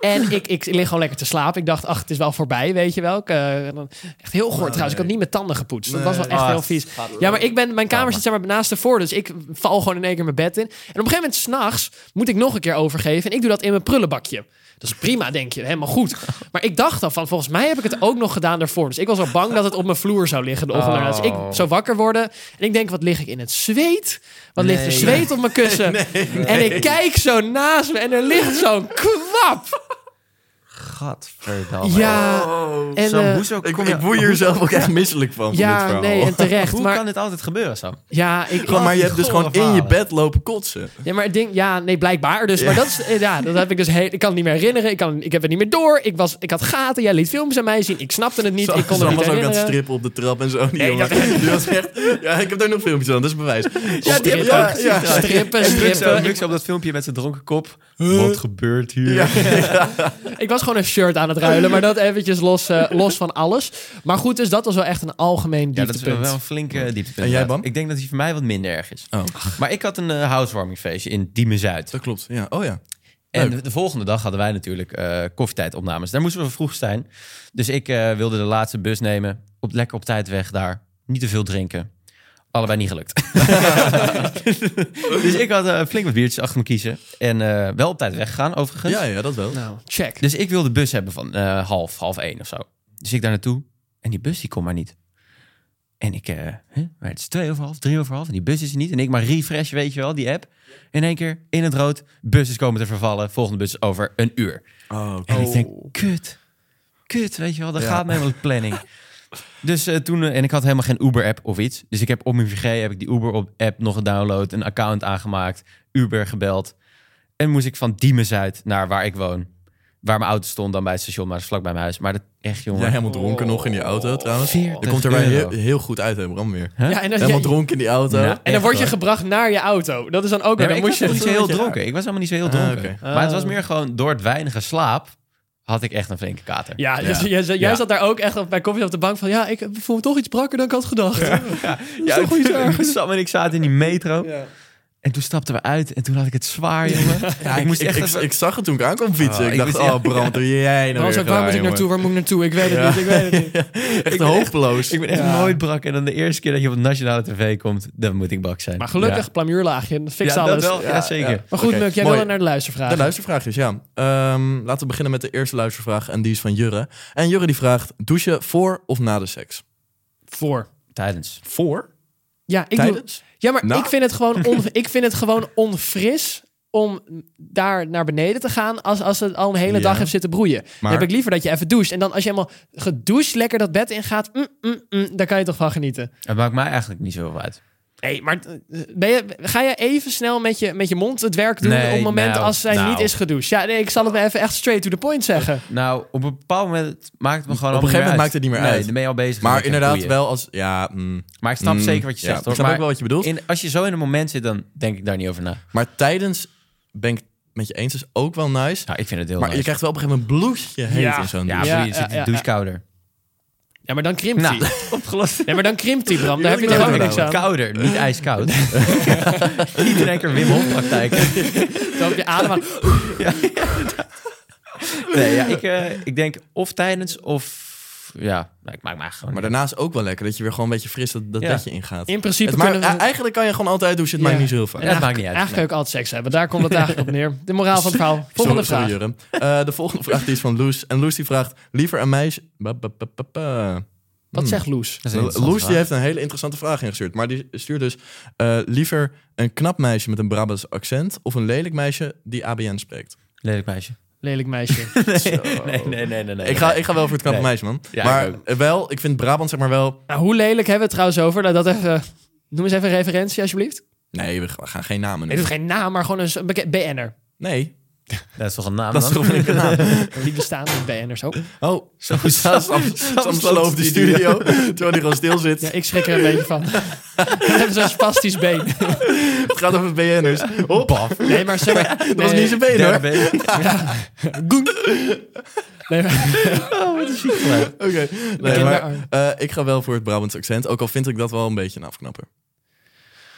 Speaker 2: En ik, ik lig gewoon lekker te slapen. Ik dacht, ach, het is wel voorbij, weet je wel. Ik, eh, dan- echt heel
Speaker 1: Oh,
Speaker 2: goor trouwens. Ik had niet met tanden gepoetst. Dat was wel echt
Speaker 3: Ah,
Speaker 2: heel vies. Ja, maar ik ben, mijn kamer zit zeg maar naast de voor. Dus ik val gewoon in één keer mijn bed in. En op een gegeven moment, s'nachts, moet ik nog een keer overgeven. En ik doe dat in mijn prullenbakje. Dat is prima, denk je. Helemaal goed. Maar ik dacht dan van, volgens mij heb ik het ook nog gedaan daarvoor. Dus ik was al bang dat het op mijn vloer zou liggen de ochtend. daarna. Dus ik
Speaker 1: Oh.
Speaker 2: zou wakker worden. En ik denk, wat lig ik in het zweet? Wat ligt er
Speaker 3: Nee.
Speaker 2: zweet op mijn kussen? En ik kijk zo naast me en er ligt zo'n kwap.
Speaker 1: Oh
Speaker 3: Gadverdamme.
Speaker 2: Ja. en,
Speaker 3: Sam,
Speaker 2: eh,
Speaker 3: hoezo
Speaker 1: Ik,
Speaker 3: kom
Speaker 1: ik
Speaker 3: je-
Speaker 1: word hier zelf ook echt misselijk van, van dit
Speaker 2: ja,
Speaker 1: verhaal.
Speaker 2: nee, en terecht.
Speaker 3: Hoe kan
Speaker 2: Maar,
Speaker 3: dit altijd gebeuren, Sam?
Speaker 2: ja, ik,
Speaker 1: Gewoon, maar je hebt dus
Speaker 3: Gore
Speaker 1: gewoon in je
Speaker 3: verhalen.
Speaker 1: bed lopen kotsen.
Speaker 2: Ja, maar het ding, ja, nee, blijkbaar. Dus, maar dat, is, eh, ja, dat heb ik dus heel, ik kan het niet meer herinneren. Ik, kan, ik heb het niet meer door. Ik, was, ik had gaten. Jij liet filmpjes aan mij zien. Ik snapte het niet.
Speaker 1: Sam,
Speaker 2: ik kon
Speaker 1: Sam
Speaker 2: het niet
Speaker 1: was ook aan het
Speaker 2: herinneren.
Speaker 1: strippen op de trap en zo. Die
Speaker 2: Nee,
Speaker 1: jongen. Die was echt, ja, ik heb daar nog filmpjes aan, dat is bewijs.
Speaker 2: Strippen,
Speaker 1: ja, ja.
Speaker 2: strippen,
Speaker 3: Muk zo,
Speaker 2: strippen.
Speaker 3: Muk zo op dat filmpje met zijn dronken kop. Wat gebeurt hier?
Speaker 2: Ik was gewoon een shirt aan het ruilen, maar dat eventjes los, eh, los van alles. Maar goed, dus dat was wel echt een algemeen
Speaker 3: Ja, dat is
Speaker 2: dieptepunt.
Speaker 3: wel een flinke dieptepunt.
Speaker 1: En jij,
Speaker 3: inderdaad.
Speaker 1: Bam?
Speaker 3: Ik denk dat die voor mij wat minder erg is.
Speaker 1: Oh.
Speaker 3: Maar ik had een eh, housewarmingfeestje in Diemen Zuid.
Speaker 1: Dat klopt. Ja. Oh ja.
Speaker 3: En
Speaker 1: Leuk.
Speaker 3: de, de volgende dag hadden wij natuurlijk eh koffietijdopnames. Daar moesten we vroeg zijn. Dus ik eh, wilde de laatste bus nemen. Op, lekker op tijd weg daar. Niet te veel drinken. Allebei niet gelukt. dus ik had eh, flink wat biertjes achter me kiezen. En eh, wel op tijd weggegaan overigens.
Speaker 1: ja, ja, dat wel.
Speaker 2: Nou, check.
Speaker 3: Dus ik wilde bus hebben van eh, half, half één of zo. Dus ik daar naartoe. En die bus die kon maar niet. En ik, eh, hè, maar het is twee over half, drie over half. En die bus is er niet. En ik maar refresh, weet je wel, die app. In één keer, in het rood, bus is komen te vervallen. Volgende bus over een uur.
Speaker 1: Oh,
Speaker 3: En ik denk, kut. Kut, weet je wel, dat
Speaker 1: Ja.
Speaker 3: gaat me helemaal de planning. Dus eh, toen, eh, en ik had helemaal geen Uber-app of iets. Dus ik heb op mijn VG heb ik die Uber-app nog gedownload, een account aangemaakt, Uber gebeld. En moest ik van Diemen Zuid naar waar ik woon. Waar mijn auto stond dan bij het station, maar dat is vlak bij mijn huis. Maar dat echt, jongen.
Speaker 1: Jij helemaal dronken nog in die auto trouwens. Je komt er wel
Speaker 3: 40
Speaker 1: heel,
Speaker 3: Oh, euro.
Speaker 1: heel goed uit, hè, Bram weer.
Speaker 3: Hè?
Speaker 2: ja, en dan,
Speaker 1: Helemaal
Speaker 2: ja,
Speaker 1: dronken in die auto.
Speaker 3: Ja.
Speaker 2: en dan word je
Speaker 1: Echt,
Speaker 2: gebracht naar je auto. Dat is dan ook weer.
Speaker 3: Nee, maar
Speaker 2: Dan
Speaker 3: ik was
Speaker 2: moest je.
Speaker 3: helemaal niet zo heel dronken.
Speaker 2: raar.
Speaker 3: Ik was helemaal niet zo heel
Speaker 1: Ah,
Speaker 3: dronken.
Speaker 1: oké.
Speaker 3: Maar het was meer gewoon door het weinige slaap had ik echt een flinke kater.
Speaker 2: Ja, dus jij, zat- jij
Speaker 3: Ja.
Speaker 2: zat daar ook echt op- bij koffie op de bank van... ja, ik voel me toch iets brakker dan ik had gedacht.
Speaker 3: Ja,
Speaker 2: toch wel iets ergs?
Speaker 3: Sam en ik zaten in die metro. En toen stapten we uit en toen had ik het zwaar, jongen.
Speaker 1: Ja, ik,
Speaker 3: moest
Speaker 1: ik,
Speaker 3: echt
Speaker 1: ik,
Speaker 3: even-
Speaker 1: ik zag het toen ik aankwam fietsen.
Speaker 3: Oh,
Speaker 1: ik
Speaker 3: ik
Speaker 1: dacht,
Speaker 3: moest-
Speaker 1: oh Bram, doe jij
Speaker 2: Dan
Speaker 1: nou
Speaker 2: was
Speaker 1: weer
Speaker 2: ook, waar
Speaker 1: raar,
Speaker 2: moet ik
Speaker 1: jongen.
Speaker 2: naartoe, waar moet ik naartoe? Ik weet het niet, ik weet het niet.
Speaker 1: Echt hopeloos.
Speaker 3: Ik ben echt
Speaker 2: Ja.
Speaker 3: nooit brak. En dan de eerste keer dat je op nationale tv komt, dan moet ik bak zijn.
Speaker 2: Maar gelukkig, plamuurlaagje, dat fixt
Speaker 3: ja, dat
Speaker 2: alles.
Speaker 3: wel. Ja, zeker.
Speaker 1: ja.
Speaker 2: Maar goed,
Speaker 1: Oké,
Speaker 2: Muk, jij
Speaker 1: mooi.
Speaker 2: wilde naar de luistervraag.
Speaker 1: De luistervraag is, ja. Ehm, laten we beginnen met de eerste luistervraag. En die is van Jurre. En Jurre die vraagt, douchen voor of na de seks?
Speaker 2: Voor.
Speaker 3: Tijdens.
Speaker 1: Voor?
Speaker 2: Ja, ik doe,
Speaker 1: Tijdens?
Speaker 2: ja maar
Speaker 1: Nou.
Speaker 2: ik, vind het gewoon on, ik vind het gewoon onfris om daar naar beneden te gaan als, als het al een hele
Speaker 1: Ja.
Speaker 2: dag heeft zitten broeien. Dan
Speaker 1: Maar-
Speaker 2: heb ik liever dat je even doucht. En dan als je helemaal gedoucht lekker dat bed ingaat, mm, mm, mm, daar kan je toch van genieten.
Speaker 3: Het maakt mij eigenlijk niet zoveel uit.
Speaker 2: Nee, maar eh, ben je, ga je even snel met je, met je mond het werk doen
Speaker 3: Nee,
Speaker 2: op het moment
Speaker 3: nou,
Speaker 2: als zij
Speaker 3: nou.
Speaker 2: niet is gedoucht? Ja, nee, ik zal het me even echt straight to the point zeggen.
Speaker 3: Nou, op een bepaald moment maakt het me gewoon
Speaker 1: Op een
Speaker 3: allemaal
Speaker 1: gegeven moment maakt het niet
Speaker 3: uit.
Speaker 1: meer
Speaker 3: nee,
Speaker 1: uit.
Speaker 3: dan ben je al bezig. met
Speaker 1: Maar
Speaker 3: lekker
Speaker 1: inderdaad
Speaker 3: boeien.
Speaker 1: wel als... Ja, mm,
Speaker 3: Maar ik snap
Speaker 1: mm,
Speaker 3: zeker wat
Speaker 1: ja,
Speaker 3: je zegt,
Speaker 1: Ik
Speaker 3: hoor.
Speaker 1: snap
Speaker 3: Maar
Speaker 1: ook wel wat je bedoelt.
Speaker 3: in, als je zo in een moment zit, dan denk ik daar niet over na.
Speaker 1: Maar tijdens ben ik het met je eens. is ook wel nice.
Speaker 3: Nou, ik vind het heel
Speaker 1: maar
Speaker 3: nice.
Speaker 1: je krijgt wel op een gegeven moment bloesje heet
Speaker 2: Ja.
Speaker 1: in zo'n
Speaker 3: Ja,
Speaker 1: douche.
Speaker 2: Ja,
Speaker 3: voor je
Speaker 2: ja,
Speaker 3: zit
Speaker 2: ja,
Speaker 3: de douchekouder.
Speaker 2: Ja, maar dan krimpt hij.
Speaker 3: Nou, opgelost.
Speaker 2: Nee, maar dan krimpt hij, Bram. Daar heb je
Speaker 1: wil
Speaker 2: toch
Speaker 1: ik
Speaker 2: ook
Speaker 1: niet
Speaker 2: niks aan.
Speaker 3: Kouder, niet ijskoud. niet in één keer Wim Hof praktijk.
Speaker 2: Dan heb je adem aan.
Speaker 3: Nee, ja, ik, eh, ik denk of tijdens of... Ja, nou, ik maak me eigenlijk gewoon
Speaker 1: Maar daarnaast ook wel lekker dat je weer gewoon een beetje fris dat, dat
Speaker 3: Ja.
Speaker 1: bedje ingaat.
Speaker 2: In principe
Speaker 1: Het maakt- Ah,
Speaker 2: kunnen we...
Speaker 1: Eigenlijk kan je gewoon altijd douchen. Het
Speaker 2: Ja.
Speaker 1: maakt niet zo heel vaak.
Speaker 3: Ja, dat maakt niet uit.
Speaker 2: Eigenlijk kan je ook altijd seks hebben. Daar komt het eigenlijk op neer. De moraal van het verhaal. Volgende
Speaker 1: Sorry,
Speaker 2: vraag.
Speaker 1: sorry, Jurre. Eh, de volgende vraag die is van Loes. En Loes die vraagt, liever een meisje... Ba, ba, ba, ba, ba. Hmm.
Speaker 2: Wat zegt Loes?
Speaker 3: Dat is een interessante
Speaker 1: Loes die
Speaker 3: vraag.
Speaker 1: heeft een hele interessante vraag ingestuurd. Maar die stuurt dus eh, liever een knap meisje met een Brabants accent... of een lelijk meisje die ABN spreekt.
Speaker 3: Lelijk meisje.
Speaker 2: Lelijk meisje.
Speaker 3: Nee, nee, nee, nee. nee.
Speaker 1: Ik ga, ik ga wel voor het knappe
Speaker 3: Nee.
Speaker 1: meisje, man.
Speaker 3: Ja,
Speaker 1: maar
Speaker 3: ik
Speaker 1: wel, ik vind Brabant zeg maar wel...
Speaker 2: nou, hoe lelijk hebben we het trouwens over? Nou, dat even... Noem eens even een referentie, alsjeblieft.
Speaker 1: Nee, we gaan geen namen
Speaker 2: Nee, dat
Speaker 1: noemen.
Speaker 2: is geen naam, maar gewoon een s- een beke- BN'er.
Speaker 1: Nee,
Speaker 3: Dat is toch een naam
Speaker 1: dat is
Speaker 3: dan?
Speaker 1: toch een naam.
Speaker 2: Die bestaan, die BN'ers ook.
Speaker 1: Oh,
Speaker 3: Zo Sam,
Speaker 1: Sam sloopt die studio, terwijl hij gewoon stil zit.
Speaker 2: Ja, ik schrik er een beetje van. Ze hebben zo'n spastisch been.
Speaker 1: Het gaat over BN'ers. Hop,
Speaker 2: Nee, maar zeg maar...
Speaker 1: dat was niet zijn been, hoor.
Speaker 3: Derde been.
Speaker 2: Nee, maar-
Speaker 1: Oké. Nee,
Speaker 2: Bekende
Speaker 1: maar
Speaker 2: arm.
Speaker 1: eh, ik ga wel voor het Brabants accent. Ook al vind ik dat wel een beetje nou, een afknapper.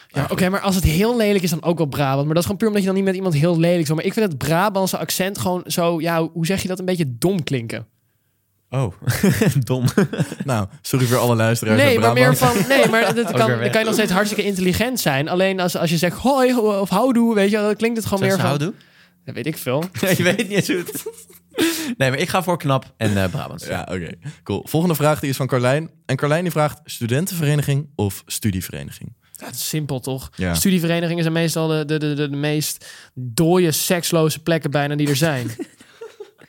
Speaker 2: Ja, Oké, maar als het heel lelijk is, dan ook wel Brabant. Maar dat is gewoon puur omdat je dan niet met iemand heel lelijk is. Maar ik vind het Brabantse accent gewoon zo... Ja, hoe zeg je dat? Een beetje dom klinken.
Speaker 3: Oh, dom.
Speaker 1: Nou, sorry voor alle luisteraars
Speaker 2: Nee,
Speaker 1: uit
Speaker 2: maar meer
Speaker 1: Brabant.
Speaker 2: van... Nee, maar dat
Speaker 3: Ook
Speaker 2: kan,
Speaker 3: weer weg.
Speaker 2: dan kan je nog steeds hartstikke intelligent zijn. Alleen als, als je zegt hoi ho- of houdoe, weet je wel, dan klinkt het gewoon
Speaker 3: Zeg
Speaker 2: meer
Speaker 3: ze
Speaker 2: van...
Speaker 3: houdoe?
Speaker 2: Dat weet ik veel.
Speaker 3: Je weet niet eens hoe het... Nee, maar ik ga voor knap en eh Brabants.
Speaker 1: Ja, oké. Cool. Volgende vraag die is van Carlijn. En Carlijn die vraagt studentenvereniging of studievereniging?
Speaker 2: Dat is simpel, toch?
Speaker 1: Ja.
Speaker 2: Studieverenigingen zijn meestal de, de, de, de, de meest dooie, seksloze plekken bijna die er zijn.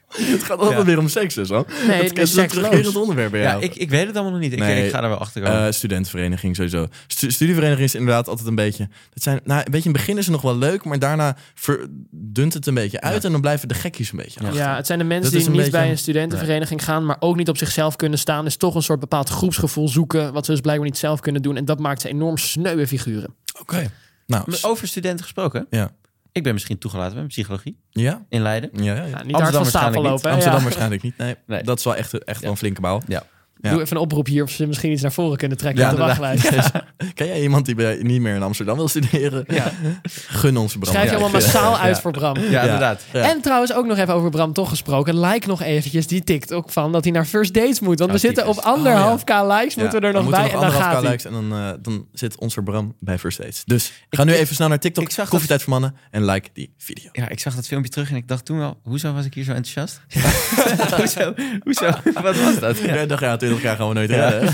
Speaker 1: Het gaat altijd
Speaker 3: Ja.
Speaker 1: weer om seks, dus, hoor.
Speaker 2: nee,
Speaker 1: het is een
Speaker 2: seksloos.
Speaker 1: terugkerend onderwerp bij
Speaker 3: Ja,
Speaker 1: jou.
Speaker 3: ik, ik weet het allemaal nog niet. Ik,
Speaker 1: Nee.
Speaker 3: ik ga er wel achter komen.
Speaker 1: Eh, studentenvereniging sowieso. Stu- studievereniging is inderdaad altijd een beetje... Dat zijn, nou, een beetje in het begin is het nog wel leuk, maar daarna verdunt het een beetje uit... en dan blijven de gekkies een beetje achter.
Speaker 2: Ja, het zijn de
Speaker 1: Dat
Speaker 2: mensen
Speaker 1: is
Speaker 2: die
Speaker 1: een
Speaker 2: niet
Speaker 1: beetje-
Speaker 2: bij een studentenvereniging gaan, maar ook niet op zichzelf kunnen staan. Dus toch een soort bepaald groepsgevoel zoeken, wat ze dus blijkbaar niet zelf kunnen doen. En dat maakt ze enorm sneuwe figuren.
Speaker 1: Oké. Nou,
Speaker 3: Maar Over studenten gesproken.
Speaker 1: Ja.
Speaker 3: Ik Ik ben misschien toegelaten bij psychologie
Speaker 1: Ja?
Speaker 3: in Leiden.
Speaker 1: Ja, ja, ja.
Speaker 2: Ja, niet hard van stapel
Speaker 3: waarschijnlijk niet.
Speaker 2: lopen. hè?
Speaker 1: Amsterdam
Speaker 2: Ja.
Speaker 1: waarschijnlijk niet. Nee,
Speaker 3: Nee.
Speaker 1: dat is wel echt, echt wel een flinke bouw. ja.
Speaker 2: Doe even een oproep hier of ze misschien iets naar voren kunnen trekken
Speaker 1: Ja,
Speaker 2: op de
Speaker 1: inderdaad.
Speaker 2: wachtlijst.
Speaker 1: Ken jij iemand die bij, niet meer in Amsterdam wil studeren?
Speaker 2: Ja.
Speaker 1: Gun ons Bram.
Speaker 2: Schrijf je
Speaker 1: Ja,
Speaker 2: allemaal
Speaker 1: ik vind-
Speaker 2: massaal
Speaker 1: ja.
Speaker 2: uit voor Bram.
Speaker 3: Ja, inderdaad.
Speaker 1: Ja.
Speaker 2: En trouwens ook nog even over Bram toch gesproken. Like nog eventjes die TikTok van dat hij naar First Dates moet. Want
Speaker 3: Oh,
Speaker 2: we zitten op
Speaker 3: typisch.
Speaker 2: anderhalf k likes.
Speaker 1: Ja,
Speaker 2: Moeten we er nog
Speaker 1: dan
Speaker 2: bij en
Speaker 1: moeten
Speaker 2: dan
Speaker 1: we nog
Speaker 2: gaat
Speaker 1: anderhalf
Speaker 2: hij.
Speaker 1: K likes en dan, eh, dan zit onze Bram bij First Dates. Dus ga nu even snel naar TikTok,
Speaker 3: ik zag
Speaker 1: Koffietijd voor Mannen en like die video.
Speaker 3: Ja, ik zag dat filmpje terug en ik dacht toen wel, hoezo was ik hier zo enthousiast? hoezo? Hoezo? Wat was dat?
Speaker 1: Ja.
Speaker 3: Ja.
Speaker 1: dacht ja, 20 jaar gaan we nooit redden.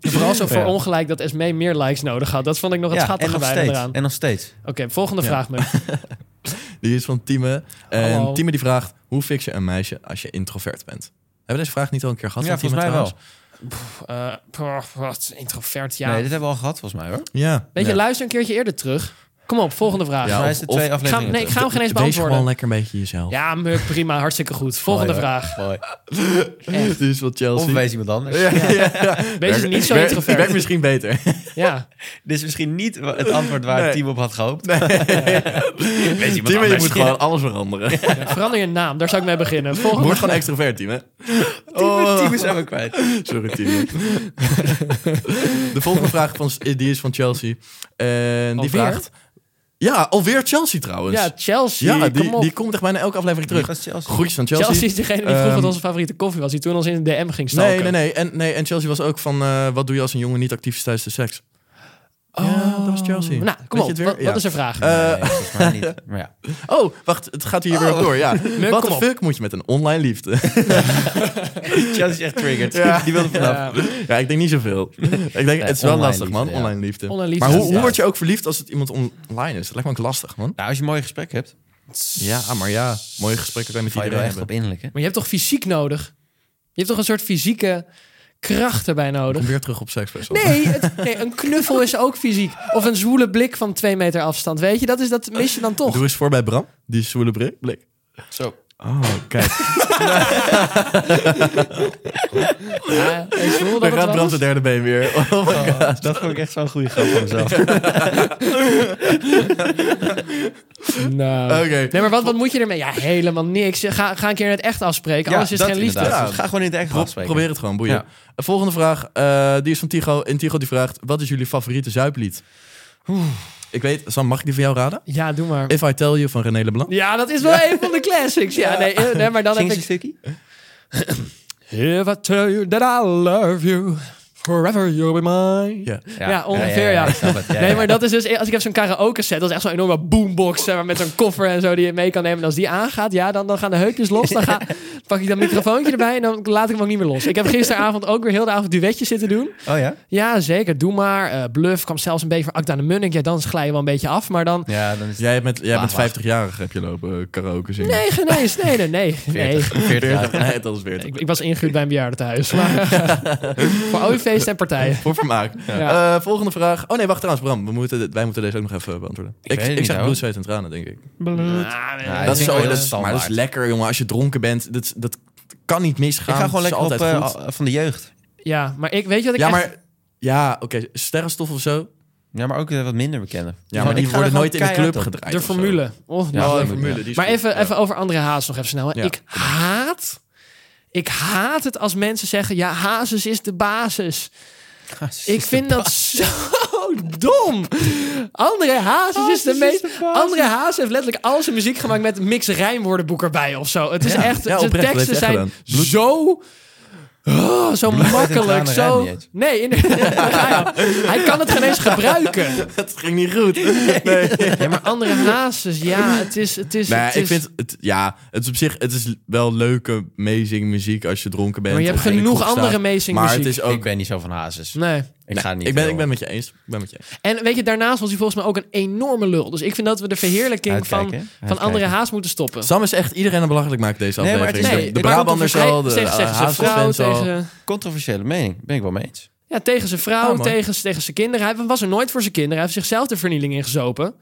Speaker 2: Vooral zo voor
Speaker 3: Ja.
Speaker 2: ongelijk dat SME meer likes nodig had. Dat vond ik nog het
Speaker 3: Ja, en,
Speaker 2: schattige
Speaker 3: nog
Speaker 2: bij hem
Speaker 3: steeds,
Speaker 2: eraan.
Speaker 3: en nog steeds.
Speaker 2: Oké, volgende
Speaker 1: Ja.
Speaker 2: vraag. Muk.
Speaker 1: Die is van Time. En
Speaker 2: Hallo.
Speaker 1: Time die vraagt, hoe fix je een meisje als je introvert bent? Hebben we deze vraag niet al een keer gehad?
Speaker 3: Ja,
Speaker 1: van
Speaker 3: volgens mij
Speaker 1: Time
Speaker 3: wel.
Speaker 2: Eh, pff, wat introvert, ja.
Speaker 3: Nee, dit hebben we al gehad volgens mij hoor.
Speaker 1: trouwens? Ja.
Speaker 2: Weet je,
Speaker 1: ja.
Speaker 2: luister een keertje eerder terug. Kom op, volgende vraag.
Speaker 3: Volgens
Speaker 1: Ja,
Speaker 3: mij
Speaker 1: of-
Speaker 3: is het
Speaker 1: of-
Speaker 3: twee
Speaker 2: Ik ga,
Speaker 3: afleveringen
Speaker 2: hem- nee, ik ga
Speaker 3: terug.
Speaker 2: hem geen eens
Speaker 1: Wees gewoon Oh,
Speaker 2: beantwoorden.
Speaker 1: lekker een beetje jezelf.
Speaker 2: Ja, Muk, prima. Hartstikke goed. Volgende
Speaker 1: Mooi,
Speaker 2: vraag.
Speaker 3: Mooi.
Speaker 1: Dit is wat Chelsea.
Speaker 3: Of wees iemand anders.
Speaker 2: Wees dus niet zo
Speaker 1: Werkt-
Speaker 2: introvert.
Speaker 1: werkt misschien beter.
Speaker 2: Ja.
Speaker 3: Dit is misschien niet wa- het antwoord waar
Speaker 1: Nee.
Speaker 3: het team op had gehoopt. Wees iemand
Speaker 1: Time, je
Speaker 3: anders.
Speaker 1: moet gewoon alles veranderen.
Speaker 2: Ja, Verander je naam. Daar zou ik mee beginnen. Volgende
Speaker 1: Word gewoon extrovert, Time.
Speaker 3: Het
Speaker 1: Oh.
Speaker 3: team is helemaal kwijt.
Speaker 1: Sorry, Timo. De volgende vraag van, die is van Chelsea. En die
Speaker 2: Alweer?
Speaker 1: vraagt... Ja, alweer Chelsea trouwens.
Speaker 2: Ja, Chelsea.
Speaker 1: Ja, die,
Speaker 2: kom op.
Speaker 1: die komt echt bijna elke aflevering terug.
Speaker 3: Dat is Chelsea.
Speaker 1: Groetjes van Chelsea.
Speaker 2: Chelsea, is degene die vroeg wat
Speaker 1: Ehm,
Speaker 2: onze favoriete koffie was. Die toen ons in de DM ging stalken.
Speaker 1: Nee, nee, nee. En, nee. en Chelsea was ook van... eh, wat doe je als een jongen niet actief is tijdens de seks? Ja, dat was Chelsea.
Speaker 2: Nou,
Speaker 1: Weet
Speaker 2: kom
Speaker 1: je
Speaker 2: op.
Speaker 1: het weer?
Speaker 2: Wat,
Speaker 1: Ja.
Speaker 2: wat is de vraag?
Speaker 3: Nee, volgens mij
Speaker 1: Eh.
Speaker 3: niet. Maar ja.
Speaker 1: Oh, wacht. Het gaat hier weer op door. Ja. Wat
Speaker 2: kom
Speaker 1: de
Speaker 2: op.
Speaker 1: fuck moet je met een online liefde?
Speaker 3: Chelsea is echt triggered. Die wilde vanaf.
Speaker 2: Ja.
Speaker 1: ja, ik denk niet zoveel. ik denk, het is wel
Speaker 3: online
Speaker 1: lastig, man.
Speaker 3: liefde, ja.
Speaker 1: Online liefde.
Speaker 2: Online liefde,
Speaker 1: maar hoe,
Speaker 2: ja.
Speaker 1: hoe word je ook verliefd als het iemand online is? Dat lijkt me ook lastig, man.
Speaker 3: Nou, als je een mooi gesprek hebt,
Speaker 1: Ja, maar ja. Mooie gesprekken kan je met
Speaker 3: val je
Speaker 1: iedereen
Speaker 3: er wel
Speaker 1: hebben.
Speaker 3: echt op inlijken.
Speaker 2: Maar je hebt toch fysiek nodig? Je hebt toch een soort fysieke kracht erbij nodig?
Speaker 1: Kom weer terug op seks. best wel.
Speaker 2: Nee, het- nee, een knuffel is ook fysiek. Of een zwoele blik van twee meter afstand. Weet je, dat, is, dat mis je dan toch.
Speaker 1: Doe eens voor bij Bram. Die zwoele bri- blik.
Speaker 3: Zo.
Speaker 1: Oh, kijk.
Speaker 2: Ja, en zwoel, dat
Speaker 1: Daar
Speaker 2: het
Speaker 1: gaat
Speaker 2: wel
Speaker 1: Bram
Speaker 2: is.
Speaker 1: zijn derde been weer. Oh,
Speaker 3: Dat vond ik echt zo'n goede grap van mezelf.
Speaker 2: Nou.
Speaker 1: Oké.
Speaker 2: Nee, maar wat, wat moet je ermee? Ja, helemaal niks. Ga, ga een keer in het echt afspreken. Anders is het geen liefde.
Speaker 1: inderdaad.
Speaker 3: Ga gewoon in het echt
Speaker 1: Pro-
Speaker 3: afspreken.
Speaker 1: probeer het gewoon, boeien.
Speaker 3: Ja.
Speaker 1: Eh, Volgende vraag, eh, die is van Tigo. En Tigo die vraagt, wat is jullie favoriete zuiplied? Ik weet, Sam, mag ik die van jou raden?
Speaker 2: Ja, doe maar.
Speaker 1: If I Tell You van René Leblanc.
Speaker 2: Ja, dat is wel een van de classics. Ja, nee, eh, nee maar dan heb
Speaker 3: Zing eens een
Speaker 2: ik...
Speaker 3: stukje.
Speaker 2: If I tell you that I love you, forever you'll be mine.
Speaker 1: Ja.
Speaker 2: Ja, ongeveer, ja.
Speaker 3: ik snap het. Ja,
Speaker 2: Nee,
Speaker 3: ja.
Speaker 2: maar dat is dus... Als ik heb zo'n karaoke set, dat is echt zo'n enorme boombox zeg maar, met zo'n koffer en zo die je mee kan nemen. En als die aangaat, ja, dan, dan gaan de heupjes los. Dan ga, pak ik dat microfoontje erbij en dan laat ik hem ook niet meer los. Ik heb gisteravond ook weer heel de avond duetjes zitten doen.
Speaker 3: Oh ja?
Speaker 2: Ja, zeker. Doe maar. Eh, Bluff kwam zelfs een beetje voor Akda de Munnik. Ja, dan glij je wel een beetje af, maar dan...
Speaker 3: Ja, dan is het
Speaker 1: Jij bent, jij bent
Speaker 3: Wacht, wacht.
Speaker 1: 50-jarig, heb je lopen eh, karaoke zingen.
Speaker 2: Nee, geen eens. Nee, nee, nee. nee.
Speaker 3: 40. 40 jaar.
Speaker 1: 40. Nee, dat is 40.
Speaker 2: Ik, ik was ingehuurd bij een bejaardentehuis. Maar, eh, voor ouderfeesten en partijen.
Speaker 1: Voor vermaak.
Speaker 2: Ja.
Speaker 1: Eh, volgende vraag. Oh nee, wacht trouwens, Bram. We moeten, dit- wij moeten deze ook nog even eh, beantwoorden. Ik,
Speaker 3: weet het niet,
Speaker 1: zeg
Speaker 3: hoor.
Speaker 1: bloed, zweet en tranen, denk ik.
Speaker 2: Ah, nee.
Speaker 3: Ja,
Speaker 1: dat is
Speaker 3: vind ik
Speaker 1: zo, dat is,
Speaker 3: wel heel
Speaker 1: maar dat is
Speaker 3: standaard.
Speaker 1: lekker, jongen. Als je dronken bent, dat, dat kan niet misgaan.
Speaker 3: Ik ga gewoon
Speaker 1: Het is
Speaker 3: lekker op
Speaker 1: altijd
Speaker 3: eh,
Speaker 1: goed.
Speaker 3: al- van de jeugd.
Speaker 2: Ja, maar ik weet je wat ik
Speaker 1: ja,
Speaker 2: echt-
Speaker 1: maar... Ja, oké. Sterrenstof of zo.
Speaker 3: Ja, maar ook eh, wat minder bekende.
Speaker 1: Ja, maar die worden nooit in de club gedraaid.
Speaker 2: De
Speaker 1: of zo.
Speaker 2: formule. Oh,
Speaker 3: Ja,
Speaker 2: nou.
Speaker 1: Oh, de
Speaker 3: leuk,
Speaker 1: formule.
Speaker 3: ja.
Speaker 1: Die is
Speaker 2: maar
Speaker 1: goed,
Speaker 2: even,
Speaker 1: ja.
Speaker 2: even over André Haas nog even snel. Hè.
Speaker 1: Ja.
Speaker 2: Ik haat... Ik haat het als mensen zeggen... Ja, Hazes is de basis. Ik vind dat zo dom. André Hazes is de meest... André Hazes heeft letterlijk al zijn muziek gemaakt... met mix rijmwoordenboek erbij of zo. Het is echt...
Speaker 1: Ja,
Speaker 2: zijn
Speaker 1: oprecht, dat heeft
Speaker 2: teksten
Speaker 1: hij
Speaker 2: zijn
Speaker 1: echt gedaan.
Speaker 2: zo... Oh, zo makkelijk,
Speaker 3: tranen
Speaker 2: zo...
Speaker 3: rijmt niet
Speaker 2: Nee, inderdaad. Daar ga je al. hij kan het geen eens gebruiken.
Speaker 1: Het ging niet goed. Nee,
Speaker 2: Ja, maar andere hazes, ja, het is... Het is,
Speaker 1: nee
Speaker 2: het
Speaker 1: ik
Speaker 2: is-
Speaker 1: vind het, ja, het is op zich, het is wel leuke amazing muziek als je dronken bent.
Speaker 2: Maar je hebt
Speaker 1: of in een
Speaker 2: genoeg
Speaker 1: kroeg staat.
Speaker 2: andere amazing
Speaker 1: maar
Speaker 2: muziek.
Speaker 1: het is ook,
Speaker 3: Ik ben niet zo van hazes.
Speaker 2: Nee.
Speaker 3: Ik ga niet.
Speaker 1: ik ben,
Speaker 3: heel-
Speaker 1: ik ben met je eens. Ik ben met je eens.
Speaker 2: En weet je, daarnaast was hij volgens mij ook een enorme lul. Dus ik vind dat we de verheerlijking
Speaker 3: Uitkijken,
Speaker 2: van,
Speaker 3: hè?
Speaker 2: van
Speaker 3: Uitkijken.
Speaker 2: andere haas moeten stoppen.
Speaker 1: Sam is echt iedereen aan belachelijk maken deze
Speaker 3: Nee, maar het is-
Speaker 1: aflevering.
Speaker 3: nee,
Speaker 1: de
Speaker 3: ik-
Speaker 1: Brabanders
Speaker 2: Hij-
Speaker 1: al, de
Speaker 2: tegen, tegen zijn vrouw,
Speaker 1: Haasfans al.
Speaker 2: tegen,
Speaker 3: Controversiële mening. Ben ik wel mee eens.
Speaker 2: ja, tegen zijn vrouw,
Speaker 1: Ja, Oh, man.
Speaker 2: tegen, tegen zijn kinderen. Hij was er nooit voor zijn kinderen. Hij heeft zichzelf de vernieling ingezopen.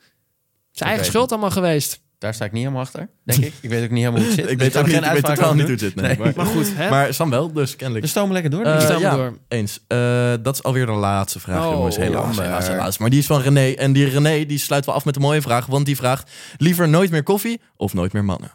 Speaker 2: Zijn eigen
Speaker 3: Oké.
Speaker 2: schuld allemaal geweest.
Speaker 3: Daar sta ik niet helemaal achter, denk ik. Ik weet ook niet helemaal hoe het zit.
Speaker 1: Ik
Speaker 3: Dus
Speaker 1: weet
Speaker 3: ga
Speaker 1: ook
Speaker 3: er
Speaker 1: niet,
Speaker 3: geen
Speaker 1: ik weet
Speaker 3: uitspraak
Speaker 1: totaal
Speaker 3: over
Speaker 1: niet hoe
Speaker 3: doen.
Speaker 1: het zit.
Speaker 3: Nee.
Speaker 1: Nee, maar,
Speaker 2: Maar goed, hè?
Speaker 1: maar Sam wel, dus
Speaker 3: Dus
Speaker 1: kennelijk.
Speaker 3: stomen we lekker door.
Speaker 2: Eh,
Speaker 3: denk ik.
Speaker 2: staan we
Speaker 1: ja,
Speaker 2: door.
Speaker 1: eens. Eh, dat is alweer de laatste vraag,
Speaker 2: Oh,
Speaker 1: jongens. Helaas,
Speaker 3: jammer.
Speaker 1: helaas, helaas. Maar die is van René. En die René die sluit wel af met een mooie vraag. Want die vraagt liever nooit meer koffie of nooit meer mannen.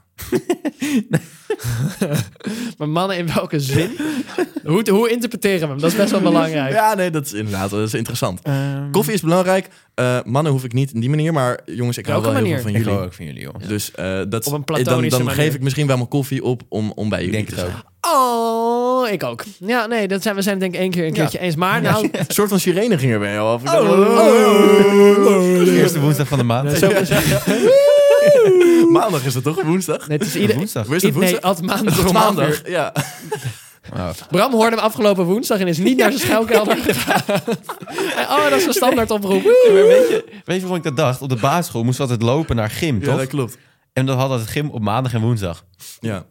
Speaker 2: Maar mannen in welke zin? hoe, hoe interpreteren we hem? Dat is best wel belangrijk.
Speaker 1: Ja, nee, dat is inderdaad dat is interessant.
Speaker 3: Ehm,
Speaker 1: Koffie is belangrijk. Eh, mannen hoef ik niet in die manier. Maar jongens, ik hou wel
Speaker 2: Welke
Speaker 1: heel veel van
Speaker 2: manier?
Speaker 3: ik
Speaker 1: jullie.
Speaker 3: hou ook van jullie, joh.
Speaker 1: Dus eh, dat,
Speaker 2: Op een
Speaker 1: dan,
Speaker 2: platonische
Speaker 1: dan
Speaker 2: manier.
Speaker 1: geef ik misschien wel mijn koffie op om, om bij
Speaker 3: Ik
Speaker 1: jullie
Speaker 3: denk
Speaker 1: te
Speaker 3: het
Speaker 1: zijn.
Speaker 3: ook.
Speaker 2: Oh, ik ook. Ja, nee, dat zijn, we zijn het denk ik één keer een keertje eens. Maar nou,
Speaker 1: Een soort van sirene ging er bij jou af. Ik dacht, oh,
Speaker 3: Eerste woensdag van de maand.
Speaker 2: zo, zo-
Speaker 1: oh. Maandag is dat toch? Woensdag?
Speaker 2: nee, het is ieder...
Speaker 3: Woensdag.
Speaker 1: Is het
Speaker 2: Nee,
Speaker 1: woensdag?
Speaker 2: altijd maandag
Speaker 1: Toch
Speaker 2: om twaalf uur.
Speaker 1: maandag? Ja.
Speaker 3: Oh.
Speaker 2: Bram hoorde hem afgelopen woensdag en is niet naar zijn schuilkelder gegaan. oh, dat is een standaard oproep. Woe!
Speaker 3: Maar weet je, weet je waarom ik dat dacht? Op de basisschool moesten we altijd lopen naar gym,
Speaker 1: ja,
Speaker 3: toch?
Speaker 1: dat klopt.
Speaker 3: En dat hadden we het gym op maandag en woensdag.
Speaker 1: Ja,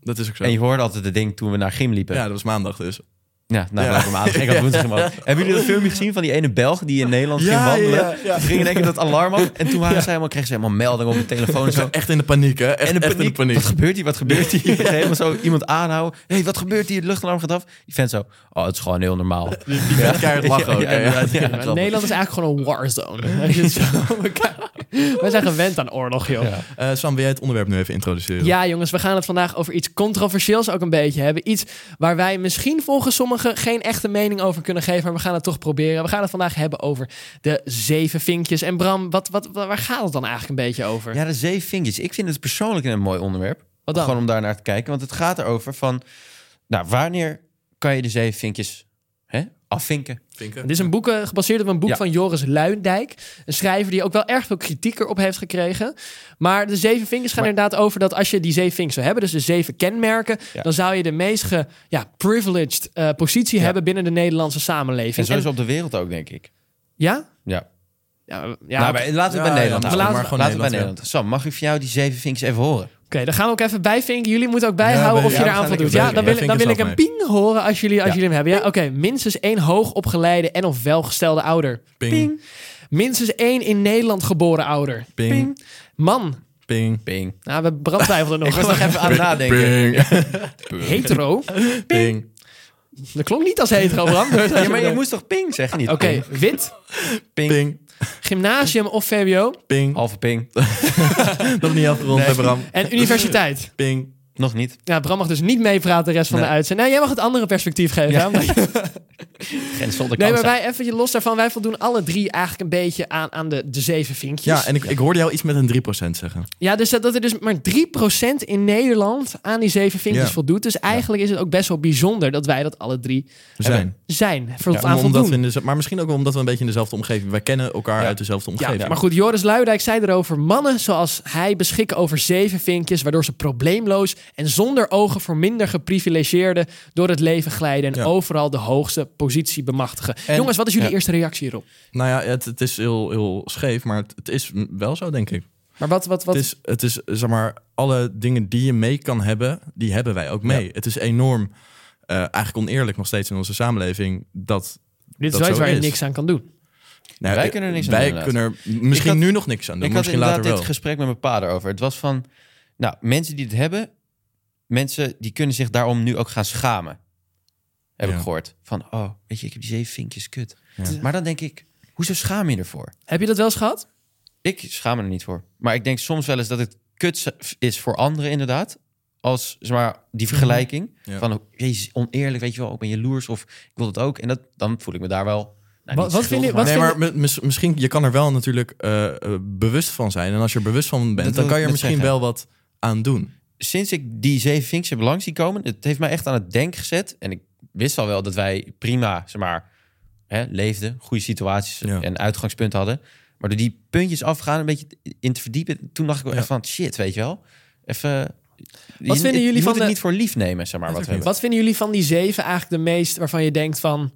Speaker 1: dat is ook zo.
Speaker 3: En je hoorde altijd het ding toen we naar gym liepen.
Speaker 1: Ja,
Speaker 3: Ja,
Speaker 1: dat was maandag dus.
Speaker 3: nou,
Speaker 1: Ja.
Speaker 3: laten we maandag. Ik had woensdag gym ook. Hebben jullie dat filmpje gezien van die ene Belg die in Nederland ging wandelen?
Speaker 1: ja.
Speaker 3: Ging in één keer dat alarm af. En toen waren ze helemaal, kregen ze helemaal melding op hun telefoon. En zo.
Speaker 1: Echt in de paniek, hè? Echt,
Speaker 3: En de
Speaker 1: echt in de
Speaker 3: paniek.
Speaker 1: paniek.
Speaker 3: Wat gebeurt hier? Wat gebeurt hier? Helemaal zo iemand aanhouden. Hé, hey, wat gebeurt hier? Het luchtalarm gaat af. Die vent zo. Oh, het is gewoon heel normaal.
Speaker 1: Ja. Keihard lachen ook.
Speaker 3: Ja,
Speaker 1: hè? Ja,
Speaker 3: inderdaad, ja.
Speaker 1: ja,
Speaker 2: Maar
Speaker 1: klopt.
Speaker 2: Nederland is eigenlijk gewoon een warzone. Als je het zo bekijkt. We zijn gewend aan oorlog, joh. Ja.
Speaker 1: Eh, Sam, wil jij het onderwerp nu even introduceren?
Speaker 2: jongens, we gaan het vandaag over iets controversieels ook een beetje hebben. Iets waar wij misschien volgens sommigen geen echte mening over kunnen geven, maar we gaan het toch proberen. We gaan het vandaag hebben over de zeven vinkjes. En Bram, wat, wat, waar gaat het dan eigenlijk een beetje over?
Speaker 3: Ja, de zeven vinkjes. Ik vind het persoonlijk een mooi onderwerp.
Speaker 2: Wat dan?
Speaker 3: Gewoon om daar naar te kijken. Want het gaat erover van... Nou, wanneer kan je de zeven vinkjes hè, afvinken?
Speaker 1: Vinken?
Speaker 2: Het is een boek eh, gebaseerd op een boek
Speaker 3: Ja.
Speaker 2: van Joris Luindijk. Een schrijver die ook wel erg veel kritiek erop heeft gekregen. Maar de zeven vinkers gaan inderdaad over dat als je die zeven vinkers zou hebben, dus de zeven kenmerken,
Speaker 3: Ja.
Speaker 2: dan zou je de meest ge, ja, privileged eh, positie
Speaker 3: Ja.
Speaker 2: hebben binnen de Nederlandse
Speaker 3: En
Speaker 2: samenleving.
Speaker 3: zo is
Speaker 2: En-
Speaker 3: op de wereld ook, denk ik.
Speaker 2: ja?
Speaker 3: Ja.
Speaker 2: Ja, ja oké.
Speaker 3: nou, bij- laten we het bij
Speaker 1: Ja,
Speaker 3: Nederland
Speaker 1: ja,
Speaker 3: houden.
Speaker 2: maar
Speaker 3: Laten we
Speaker 1: gewoon
Speaker 3: het bij
Speaker 1: Nederland,
Speaker 3: Nederland. Sam, mag ik van jou die zeven vinkjes even horen?
Speaker 2: Oké, dan gaan we ook even bijvinken. Jullie moeten ook bijhouden
Speaker 1: Ja,
Speaker 2: of je
Speaker 1: we-
Speaker 2: er
Speaker 1: ja,
Speaker 2: aan
Speaker 3: we
Speaker 2: van
Speaker 3: gaan
Speaker 2: doet.
Speaker 3: lekker
Speaker 2: Ja, dan wil,
Speaker 1: bijvinken.
Speaker 2: dan wil ik
Speaker 1: Ja,
Speaker 2: een ping horen als jullie, als
Speaker 3: Ja.
Speaker 2: jullie hem hebben. Ja, oké. Minstens één hoogopgeleide en of welgestelde ouder.
Speaker 1: Ping,
Speaker 2: Minstens één in Nederland geboren ouder.
Speaker 1: ping,
Speaker 2: Man.
Speaker 1: ping.
Speaker 3: Ping.
Speaker 2: Nou, we brandtwijfelden nog.
Speaker 3: Ik was nog even aan het nadenken.
Speaker 1: Ping,
Speaker 2: Hetero?
Speaker 1: ping,
Speaker 2: Dat klonk niet als hetero, Bram.
Speaker 3: Ja, maar je moest toch ping zeggen, niet?
Speaker 2: Oké,
Speaker 3: Ping.
Speaker 2: wit,
Speaker 3: Ping.
Speaker 1: ping,
Speaker 2: gymnasium of VWO
Speaker 1: ping.
Speaker 3: Halve ping.
Speaker 1: Nog niet afgerond, hè, Bram.
Speaker 2: en universiteit.
Speaker 1: Ping.
Speaker 3: Nog niet.
Speaker 2: Ja, Bram mag dus niet meepraten de rest van de
Speaker 3: Nee.
Speaker 2: uitzending. Nee, jij mag het andere perspectief geven. hè?
Speaker 3: Geen zonder
Speaker 2: Nee,
Speaker 3: kans.
Speaker 2: maar wij even los daarvan. Wij voldoen alle drie eigenlijk een beetje aan, aan de, de zeven vinkjes.
Speaker 1: Ja, en ik, ik hoorde jou iets met een 3% zeggen.
Speaker 2: Ja, dus dat, dat er dus maar 3% in Nederland aan die zeven vinkjes
Speaker 1: Ja.
Speaker 2: voldoet. Dus eigenlijk is het ook best wel bijzonder dat wij dat alle drie
Speaker 1: We zijn.
Speaker 2: zijn. Voor,
Speaker 1: Om-
Speaker 2: aan
Speaker 1: omdat
Speaker 2: voldoen.
Speaker 1: we in de- maar misschien ook wel omdat we een beetje in dezelfde omgeving... Wij kennen elkaar uit dezelfde
Speaker 2: Ja,
Speaker 1: omgeving.
Speaker 2: maar goed, Joris Luidijk zei erover... mannen zoals hij beschikken over zeven vinkjes... waardoor ze probleemloos en zonder ogen voor minder geprivilegeerden... door het leven glijden en
Speaker 1: Ja.
Speaker 2: overal de hoogste positie bemachtigen.
Speaker 1: En-
Speaker 2: Jongens, wat is jullie
Speaker 3: Ja.
Speaker 2: eerste reactie hierop?
Speaker 1: Nou ja, het, het is heel, heel scheef, maar het, het is wel zo, denk ik.
Speaker 2: Maar wat, wat, wat...
Speaker 1: Het is, het is, zeg maar, alle dingen die je mee kan hebben, die hebben wij ook mee. Het is enorm, eh, eigenlijk oneerlijk nog steeds in onze samenleving, dat...
Speaker 2: dit is
Speaker 1: dat
Speaker 2: wel iets
Speaker 1: zo
Speaker 2: waar je
Speaker 1: is.
Speaker 2: niks aan kan doen.
Speaker 1: nou,
Speaker 3: Wij
Speaker 1: eh,
Speaker 3: kunnen er niks aan
Speaker 1: Wij
Speaker 3: doen, inderdaad.
Speaker 1: kunnen er misschien
Speaker 3: Ik had-
Speaker 1: nu nog niks aan doen,
Speaker 3: Ik
Speaker 1: maar misschien
Speaker 3: had inderdaad
Speaker 1: later
Speaker 3: dit
Speaker 1: wel.
Speaker 3: gesprek met mijn pa erover. Het was van, nou, mensen die het hebben, mensen die kunnen zich daarom nu ook gaan schamen. Heb
Speaker 1: Ja.
Speaker 3: ik gehoord. Van, oh, weet je, ik heb die zeven vinkjes, kut.
Speaker 1: Ja.
Speaker 3: Maar dan denk ik, hoezo schaam je ervoor?
Speaker 2: Heb je dat wel eens gehad?
Speaker 3: Ik schaam me er niet voor. Maar ik denk soms wel eens dat het kut z- is voor anderen inderdaad. Als, zeg maar, die vergelijking.
Speaker 1: Mhm. Ja.
Speaker 3: Van, oh, jezus, oneerlijk, weet je wel, ik ben jaloers of ik wil dat ook. En dat, dan voel ik me daar wel...
Speaker 2: Wat-
Speaker 3: nou, niet
Speaker 2: wat
Speaker 3: schuldig,
Speaker 2: vind je-
Speaker 3: maar-
Speaker 2: wat-
Speaker 1: nee, maar mi- mis- misschien, je kan er wel natuurlijk eh, eh, bewust van zijn. En als je er bewust van bent,
Speaker 3: Dat
Speaker 1: dan
Speaker 3: wil
Speaker 1: kan je
Speaker 3: ik
Speaker 1: er
Speaker 3: net
Speaker 1: misschien wel
Speaker 3: zeggen.
Speaker 1: wat aan doen.
Speaker 3: sinds ik die zeven vinkjes heb langs zien komen, het heeft mij echt aan het denken gezet. En ik wist al wel dat wij prima, zeg maar, hè, leefden, goede situaties
Speaker 1: Ja.
Speaker 3: en uitgangspunten hadden. Maar door die puntjes afgaan, een beetje in te verdiepen, toen dacht ik wel
Speaker 1: Ja.
Speaker 3: echt van shit, weet je wel. Even.
Speaker 2: vinden jullie van
Speaker 3: je moet het
Speaker 2: de-
Speaker 3: niet voor lief nemen, zeg maar. Wat we hebben.
Speaker 2: Wat vinden jullie van die zeven eigenlijk de meest waarvan je denkt van...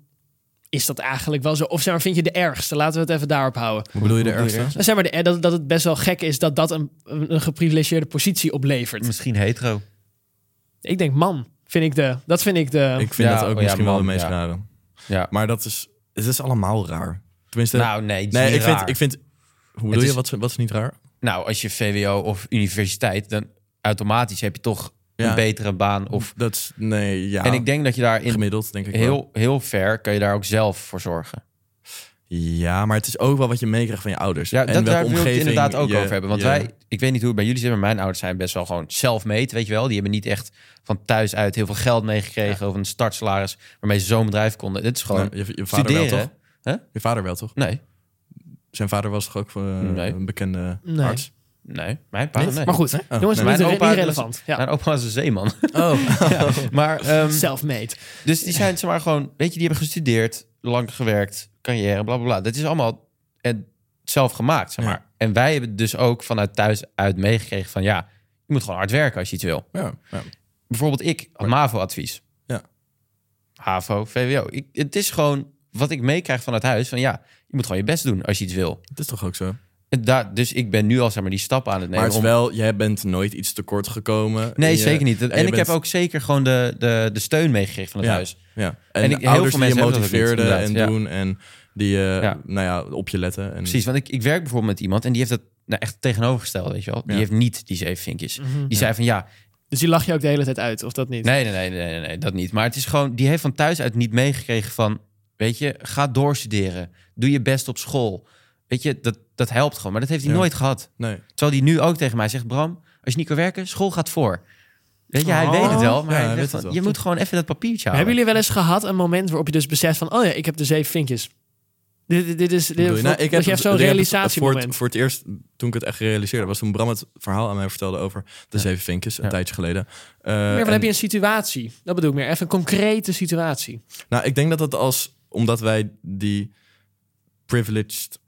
Speaker 2: is dat eigenlijk wel zo? Of zeg maar, vind je de ergste? Laten we het even daarop houden.
Speaker 1: Hoe bedoel je de
Speaker 3: Hoe bedoel je
Speaker 1: ergste?
Speaker 2: Nou, Zeg maar, de- dat, dat het best wel gek is dat dat een, een geprivilegeerde positie oplevert.
Speaker 3: Misschien hetero.
Speaker 2: Ik denk man, vind ik de. Dat vind ik de.
Speaker 1: Ik vind
Speaker 3: Ja,
Speaker 1: dat ook
Speaker 3: oh ja,
Speaker 1: misschien wel de
Speaker 3: man,
Speaker 1: meest
Speaker 3: ja.
Speaker 1: rare.
Speaker 3: Ja.
Speaker 1: Maar dat is, het is allemaal raar. Tenminste,
Speaker 3: Nou, nee, het is
Speaker 1: nee,
Speaker 3: niet
Speaker 1: ik
Speaker 3: raar.
Speaker 1: vind, ik vind... Hoe bedoel
Speaker 3: is-
Speaker 1: je, wat, is- wat is niet raar?
Speaker 3: Nou, als je VWO of universiteit, dan automatisch heb je toch
Speaker 1: Ja.
Speaker 3: een betere baan. Of...
Speaker 1: Dat is, nee, ja.
Speaker 3: En ik denk dat je daar in
Speaker 1: gemiddeld, denk ik wel.
Speaker 3: heel, heel ver kan je daar ook zelf voor zorgen.
Speaker 1: Ja, maar het is ook wel wat je meekrijgt van je ouders.
Speaker 3: Ja,
Speaker 1: en
Speaker 3: dat,
Speaker 1: welke
Speaker 3: daar wil ik het
Speaker 1: omgeving
Speaker 3: inderdaad ook
Speaker 1: je-
Speaker 3: over hebben. Want
Speaker 1: je-
Speaker 3: wij, ik weet niet hoe het bij jullie zit, maar mijn ouders zijn best wel gewoon zelfmeet, weet je wel. Die hebben niet echt van thuis uit heel veel geld meegekregen of een startsalaris waarmee ze zo'n bedrijf konden. Dit is gewoon
Speaker 1: Nou, je, je vader
Speaker 3: studeren.
Speaker 1: wel, toch?
Speaker 3: Hè?
Speaker 1: Je vader wel, toch?
Speaker 3: Nee,
Speaker 1: Zijn vader was toch ook eh,
Speaker 3: Nee.
Speaker 1: een bekende
Speaker 2: Nee.
Speaker 1: arts?
Speaker 3: nee, mijn pa,
Speaker 1: Niet?
Speaker 3: nee.
Speaker 2: Maar goed, hè?
Speaker 1: Oh, nee.
Speaker 2: jongens, dat is
Speaker 3: Mijn
Speaker 2: niet
Speaker 3: opa had-
Speaker 2: relevant. Ja.
Speaker 3: Mijn opa was een zeeman.
Speaker 1: Oh,
Speaker 3: Ja, maar, ehm,
Speaker 2: Self-made.
Speaker 3: dus die zijn zeg maar gewoon, weet je, die hebben gestudeerd, lang gewerkt, carrière, bla bla bla. Dat is allemaal eh, zelf gemaakt, zeg
Speaker 1: Ja.
Speaker 3: maar. En wij hebben dus ook vanuit thuis uit meegekregen van ja, je moet gewoon hard werken als je iets wil.
Speaker 1: ja. ja.
Speaker 3: bijvoorbeeld ik had MAVO-advies.
Speaker 1: Ja.
Speaker 3: HAVO, VWO. Ik, het is gewoon wat ik meekrijg vanuit huis. Van ja, je moet gewoon je best doen als je iets wil.
Speaker 1: Het is toch ook zo?
Speaker 3: En daar, dus ik ben nu al zeg maar die stap aan het
Speaker 1: maar
Speaker 3: nemen.
Speaker 1: het is
Speaker 3: om-
Speaker 1: wel, jij bent nooit iets tekort gekomen.
Speaker 3: nee,
Speaker 1: En je-
Speaker 3: zeker niet. En,
Speaker 1: je
Speaker 3: ik
Speaker 1: bent-
Speaker 3: heb ook zeker gewoon de, de, de steun meegekregen van het
Speaker 1: Ja.
Speaker 3: huis.
Speaker 1: Ja. En,
Speaker 3: En ik- heel veel
Speaker 1: ouders die je
Speaker 3: mensen hebben dat ook niet,
Speaker 1: motiveerden en
Speaker 3: inderdaad, ja.
Speaker 1: doen en die eh,
Speaker 3: Ja.
Speaker 1: Nou ja, op je letten. En,
Speaker 3: Precies, want ik, ik werk bijvoorbeeld met iemand en die heeft dat nou, echt tegenovergesteld, weet je wel. Die
Speaker 1: Ja.
Speaker 3: heeft niet die zeven vinkjes.
Speaker 2: Mhm.
Speaker 3: Die zei van ja,
Speaker 2: Dus die lach je ook de hele tijd uit, of dat niet?
Speaker 3: Nee, nee, nee, nee, nee, nee, dat niet. Maar het is gewoon, die heeft van thuis uit niet meegekregen van, weet je, ga doorstuderen. Doe je best op school. Weet je, dat, dat helpt gewoon. Maar dat heeft hij
Speaker 1: Ja.
Speaker 3: nooit gehad.
Speaker 1: Nee.
Speaker 3: Terwijl hij nu ook tegen mij zegt, Bram, als je niet kan werken, school gaat voor. Weet je, hij
Speaker 2: Oh.
Speaker 3: weet het wel, maar
Speaker 1: Ja,
Speaker 3: hij
Speaker 1: hij
Speaker 3: zegt
Speaker 1: weet het
Speaker 3: van,
Speaker 1: wel.
Speaker 3: je moet gewoon even dat papiertje halen.
Speaker 2: Hebben jullie wel eens gehad een moment waarop je dus beseft van... oh ja, ik heb de zeven vinkjes. Dit, dit, dit is... Dit,
Speaker 1: Bedoel je? Nou,
Speaker 2: dat je
Speaker 1: het-
Speaker 2: hebt zo'n
Speaker 1: ik heb het
Speaker 2: realisatiemoment.
Speaker 1: Voor het, voor het eerst, toen ik het echt gerealiseerd was toen Bram het verhaal aan mij vertelde over de zeven vinkjes, een
Speaker 3: Ja.
Speaker 1: tijdje geleden. Eh,
Speaker 2: meer
Speaker 1: en-
Speaker 2: van, heb je een situatie? Dat bedoel ik meer. Even een concrete situatie.
Speaker 1: Nou, ik denk dat dat als, omdat wij die privileged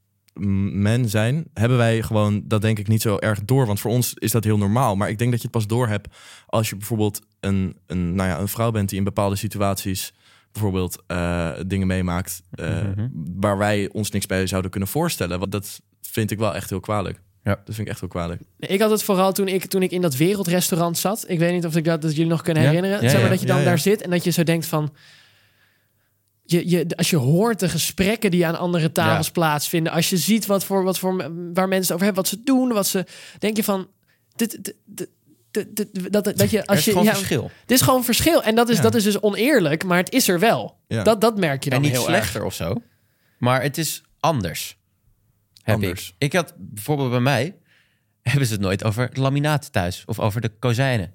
Speaker 1: men zijn, hebben wij gewoon, dat denk ik niet zo erg door. Want voor ons is dat heel normaal. Maar ik denk dat je het pas door hebt als je bijvoorbeeld een, een, nou ja, een vrouw bent die in bepaalde situaties bijvoorbeeld eh, dingen meemaakt eh,
Speaker 3: Mhm.
Speaker 1: waar wij ons niks bij zouden kunnen voorstellen. Want dat vind ik wel echt heel kwalijk.
Speaker 3: Ja.
Speaker 1: Dat vind ik echt heel kwalijk.
Speaker 2: Nee, Ik had het vooral toen ik, toen ik in dat wereldrestaurant zat. Ik weet niet of ik dat, dat jullie nog kunnen
Speaker 3: Ja.
Speaker 2: herinneren.
Speaker 3: Ja,
Speaker 2: zeg maar
Speaker 3: ja.
Speaker 2: dat je dan
Speaker 1: Ja, ja.
Speaker 2: daar zit en dat je zo denkt van... Je, je, als je hoort de gesprekken die aan andere tafels
Speaker 3: Ja.
Speaker 2: plaatsvinden... als je ziet wat voor, wat voor, waar mensen het over hebben, wat ze doen... Wat ze, denk je van... Dit, dit, dit, dit- dit- dat, dat je,
Speaker 3: Er
Speaker 2: als
Speaker 3: is
Speaker 2: je,
Speaker 3: gewoon
Speaker 2: ja,
Speaker 3: verschil.
Speaker 2: Dit is gewoon verschil. En dat is,
Speaker 1: Ja.
Speaker 2: dat is dus oneerlijk, maar het is er wel.
Speaker 1: Ja.
Speaker 2: Dat, dat merk je dan
Speaker 3: En niet
Speaker 2: heel
Speaker 3: slechter of zo. Maar het is anders. Heb
Speaker 1: Anders.
Speaker 3: Ik. ik had bijvoorbeeld bij mij, hebben ze het nooit over het laminaat thuis. Of over de kozijnen.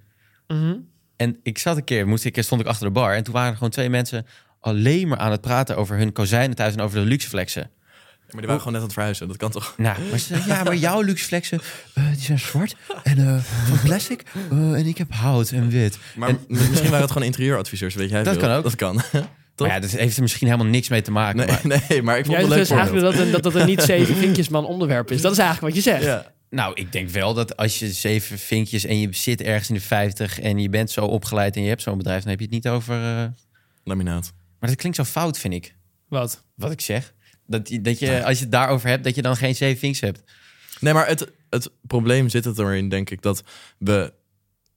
Speaker 2: erg. Mhm.
Speaker 3: En ik zat een keer, moest ik, stond ik achter de bar. En toen waren er gewoon twee mensen alleen maar aan het praten over hun kozijnen thuis en over de luxe flexen.
Speaker 1: Maar die waren gewoon net aan het verhuizen. Dat kan toch?
Speaker 3: Nou, maar ze zeiden, ja, maar jouw luxe flexen, eh, die zijn zwart en eh, van plastic. eh, en ik heb hout en wit.
Speaker 1: Maar
Speaker 3: En-
Speaker 1: misschien waren het gewoon interieuradviseurs. Weet jij
Speaker 3: Dat
Speaker 1: veel.
Speaker 3: kan ook.
Speaker 1: Dat kan.
Speaker 3: Maar ja, dat heeft er misschien helemaal niks mee te maken.
Speaker 1: Nee,
Speaker 3: Maar,
Speaker 1: nee, maar ik vond
Speaker 2: Jij
Speaker 1: het
Speaker 2: zegt
Speaker 1: een leuk
Speaker 2: dus
Speaker 1: voorbeeld.
Speaker 2: eigenlijk dat, dat dat een niet zeven vinkjesman onderwerp is. Dat is eigenlijk wat je zegt.
Speaker 1: Ja.
Speaker 3: nou, ik denk wel dat als je zeven vinkjes en je zit ergens in de 50 en je bent zo opgeleid en je hebt zo'n bedrijf, dan heb je het niet over. eh,
Speaker 1: Laminaat.
Speaker 3: Maar dat klinkt zo fout, vind ik.
Speaker 2: Wat?
Speaker 3: Wat ik zeg. Dat, je- dat je, als je het daarover hebt, dat je dan geen zeven vinkjes hebt.
Speaker 1: Nee, maar het, het probleem zit het erin, denk ik, dat we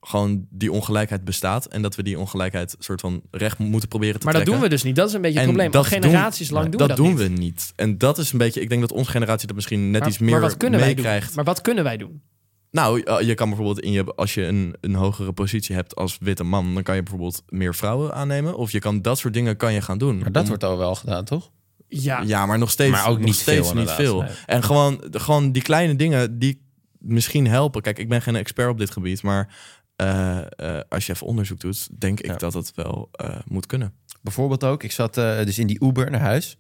Speaker 1: gewoon die ongelijkheid bestaat en dat we die ongelijkheid soort van recht moeten proberen te
Speaker 2: Maar dat
Speaker 1: trekken.
Speaker 2: doen we dus niet. Dat is een beetje het
Speaker 1: En
Speaker 2: probleem. Al
Speaker 1: dat doen-
Speaker 2: generaties lang doen we dat,
Speaker 1: dat doen
Speaker 2: niet.
Speaker 1: we niet. En dat is een beetje, ik denk dat onze generatie dat misschien net
Speaker 2: maar,
Speaker 1: iets meer
Speaker 2: maar wat kunnen wij
Speaker 1: meekrijgt.
Speaker 2: doen? Maar wat kunnen wij doen?
Speaker 1: Nou, eh, je kan bijvoorbeeld in je, als je een, een hogere positie hebt als witte man, dan kan je bijvoorbeeld meer vrouwen aannemen. Of je kan dat soort dingen kan je gaan doen.
Speaker 3: Maar dat
Speaker 1: Om-
Speaker 3: wordt al wel gedaan, toch?
Speaker 2: Ja,
Speaker 1: Ja, maar nog steeds,
Speaker 3: Ah. Maar ook
Speaker 1: nog
Speaker 3: niet
Speaker 1: steeds
Speaker 3: veel,
Speaker 1: niet
Speaker 3: inderdaad.
Speaker 1: veel.
Speaker 3: Nee.
Speaker 1: En gewoon, gewoon die kleine dingen die misschien helpen. Kijk, ik ben geen expert op dit gebied, maar eh, eh, als je even onderzoek doet, denk ik
Speaker 3: Ja.
Speaker 1: dat dat wel eh, moet kunnen.
Speaker 3: Bijvoorbeeld ook, ik zat eh, dus in die Uber naar huis.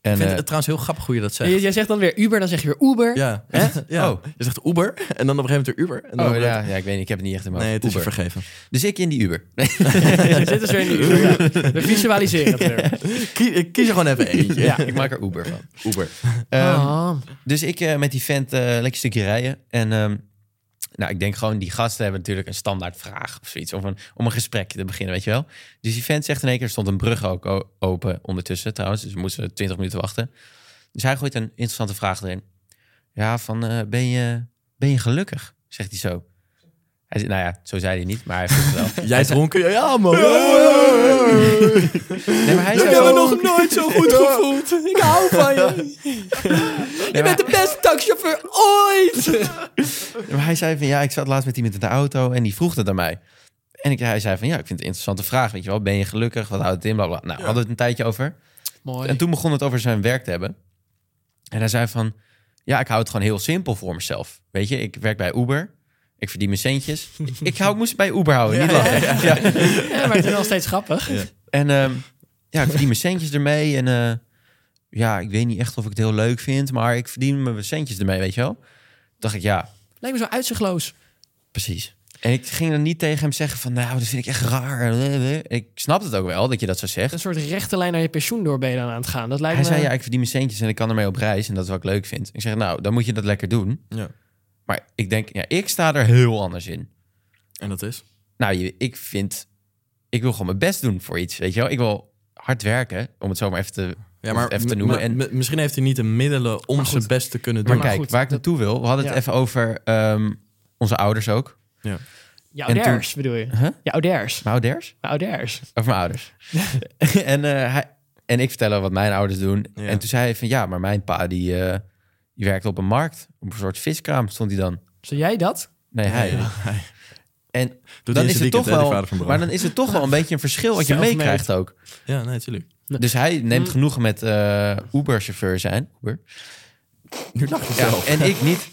Speaker 3: En,
Speaker 1: ik vind
Speaker 3: eh,
Speaker 1: het trouwens heel grappig hoe je dat
Speaker 2: Jij,
Speaker 1: zegt.
Speaker 2: jij zegt dan weer Uber, dan zeg je weer Uber.
Speaker 1: Ja, ja.
Speaker 3: Oh.
Speaker 1: je zegt Uber en dan op een gegeven moment weer Uber. En dan
Speaker 3: oh
Speaker 1: op een
Speaker 3: ja,
Speaker 1: gegeven
Speaker 3: ja, ik weet niet, ik heb het niet echt in mijn
Speaker 1: moment- Nee, het is
Speaker 3: hoofd.
Speaker 1: je
Speaker 3: Uber.
Speaker 1: vergeven.
Speaker 3: Dus ik in die Uber. Nee,
Speaker 2: Je zit dus weer in die Uber. Ja. We visualiseren het weer.
Speaker 1: Kie- ik kies er gewoon even eentje.
Speaker 2: Ja.
Speaker 3: ik maak er Uber van.
Speaker 1: Uber.
Speaker 3: Ehm,
Speaker 2: Ah.
Speaker 3: Dus ik eh, met die vent eh, lekker stukje rijden. En ehm, nou, ik denk gewoon, die gasten hebben natuurlijk een standaard vraag of zoiets. Of een, om een gesprekje te beginnen, weet je wel. Dus die vent zegt in één keer, er stond een brug ook o- open ondertussen trouwens. Dus we moesten 20 minuten wachten. Dus hij gooit een interessante vraag erin. Ja, van eh, ben, je, ben je gelukkig? Zegt hij zo. Hij zei, nou ja, zo zei hij niet, maar hij vond het wel.
Speaker 1: Jij dronken? Ja, man.
Speaker 3: Nee, maar hij zei
Speaker 1: hebben
Speaker 3: wel-
Speaker 1: nog nooit zo goed gevoeld.
Speaker 2: Ik hou van je. je bent de beste taxichauffeur ooit.
Speaker 3: Ja, Maar hij zei van ja, ik zat laatst met iemand in de auto en die vroeg het aan mij. En ik, hij zei van ja, ik vind het een interessante vraag. Weet je wel, ben je gelukkig? Wat houdt het in? Bla, bla. Nou, we hadden het een tijdje over.
Speaker 2: Mooi.
Speaker 3: En toen begon het over zijn werk te hebben. En hij zei van ja, ik hou het gewoon heel simpel voor mezelf. Weet je, ik werk bij Uber. Ik verdien mijn centjes. ik hou, moest het bij Uber houden, niet lachen. Ja.
Speaker 2: Ja, maar het is wel steeds grappig.
Speaker 3: En ehm, ja, ik verdien mijn centjes ermee. En eh, ja, ik weet niet echt of ik het heel leuk vind, maar ik verdien mijn centjes ermee, weet je wel. Toen dacht ik ja,
Speaker 2: Lijkt me zo uitzichtloos.
Speaker 3: Precies. En ik ging dan niet tegen hem zeggen van, nou, dat vind ik echt raar. Ik snap het ook wel dat je dat zo zegt.
Speaker 2: Een soort rechte lijn naar je pensioen door ben je dan aan het gaan. Dat lijkt
Speaker 3: Hij
Speaker 2: me...
Speaker 3: zei, ja, ik verdien mijn centjes en ik kan ermee op reis en dat is wat ik leuk vind. Ik zeg, nou, dan moet je dat lekker doen.
Speaker 1: Ja.
Speaker 3: Maar ik denk, ja, ik sta er heel anders in.
Speaker 1: En dat is?
Speaker 3: Nou, je- ik vind, ik wil gewoon mijn best doen voor iets, weet je wel. Ik wil hard werken, om het zo maar even te,
Speaker 1: Ja,
Speaker 3: of
Speaker 1: maar,
Speaker 3: even te noemen.
Speaker 1: maar
Speaker 3: en,
Speaker 1: mi- misschien heeft hij niet de middelen om zijn best te kunnen
Speaker 3: maar
Speaker 1: doen.
Speaker 2: maar
Speaker 3: kijk,
Speaker 2: goed,
Speaker 3: waar ik
Speaker 2: dat-
Speaker 3: naartoe wil, we hadden het
Speaker 2: Ja.
Speaker 3: even over ehm, onze ouders ook.
Speaker 2: Je
Speaker 3: en toen-
Speaker 2: ouders bedoel je?
Speaker 3: Huh?
Speaker 2: Je ouders.
Speaker 3: Mijn ouders?
Speaker 2: Mijn ouders.
Speaker 3: Of mijn ouders. en, eh, hij, en ik vertel hem wat mijn ouders doen.
Speaker 1: Ja.
Speaker 3: En toen zei hij van ja, maar mijn pa die, eh, die werkte op een markt. Op een soort viskraam stond hij dan.
Speaker 2: Zou jij dat?
Speaker 3: Nee, hij. En
Speaker 1: Doe
Speaker 3: dan is het toch wel,
Speaker 1: vader van Bram.
Speaker 3: maar dan is het toch wel een beetje een verschil wat je
Speaker 2: Zelfmade.
Speaker 3: meekrijgt ook.
Speaker 1: Ja, Mm. nee, natuurlijk.
Speaker 3: Dus hij neemt
Speaker 2: Hm.
Speaker 3: genoegen met eh, Uber-chauffeur zijn. Uber.
Speaker 1: Nu lach je
Speaker 3: Ja,
Speaker 1: zelf.
Speaker 3: en ik niet.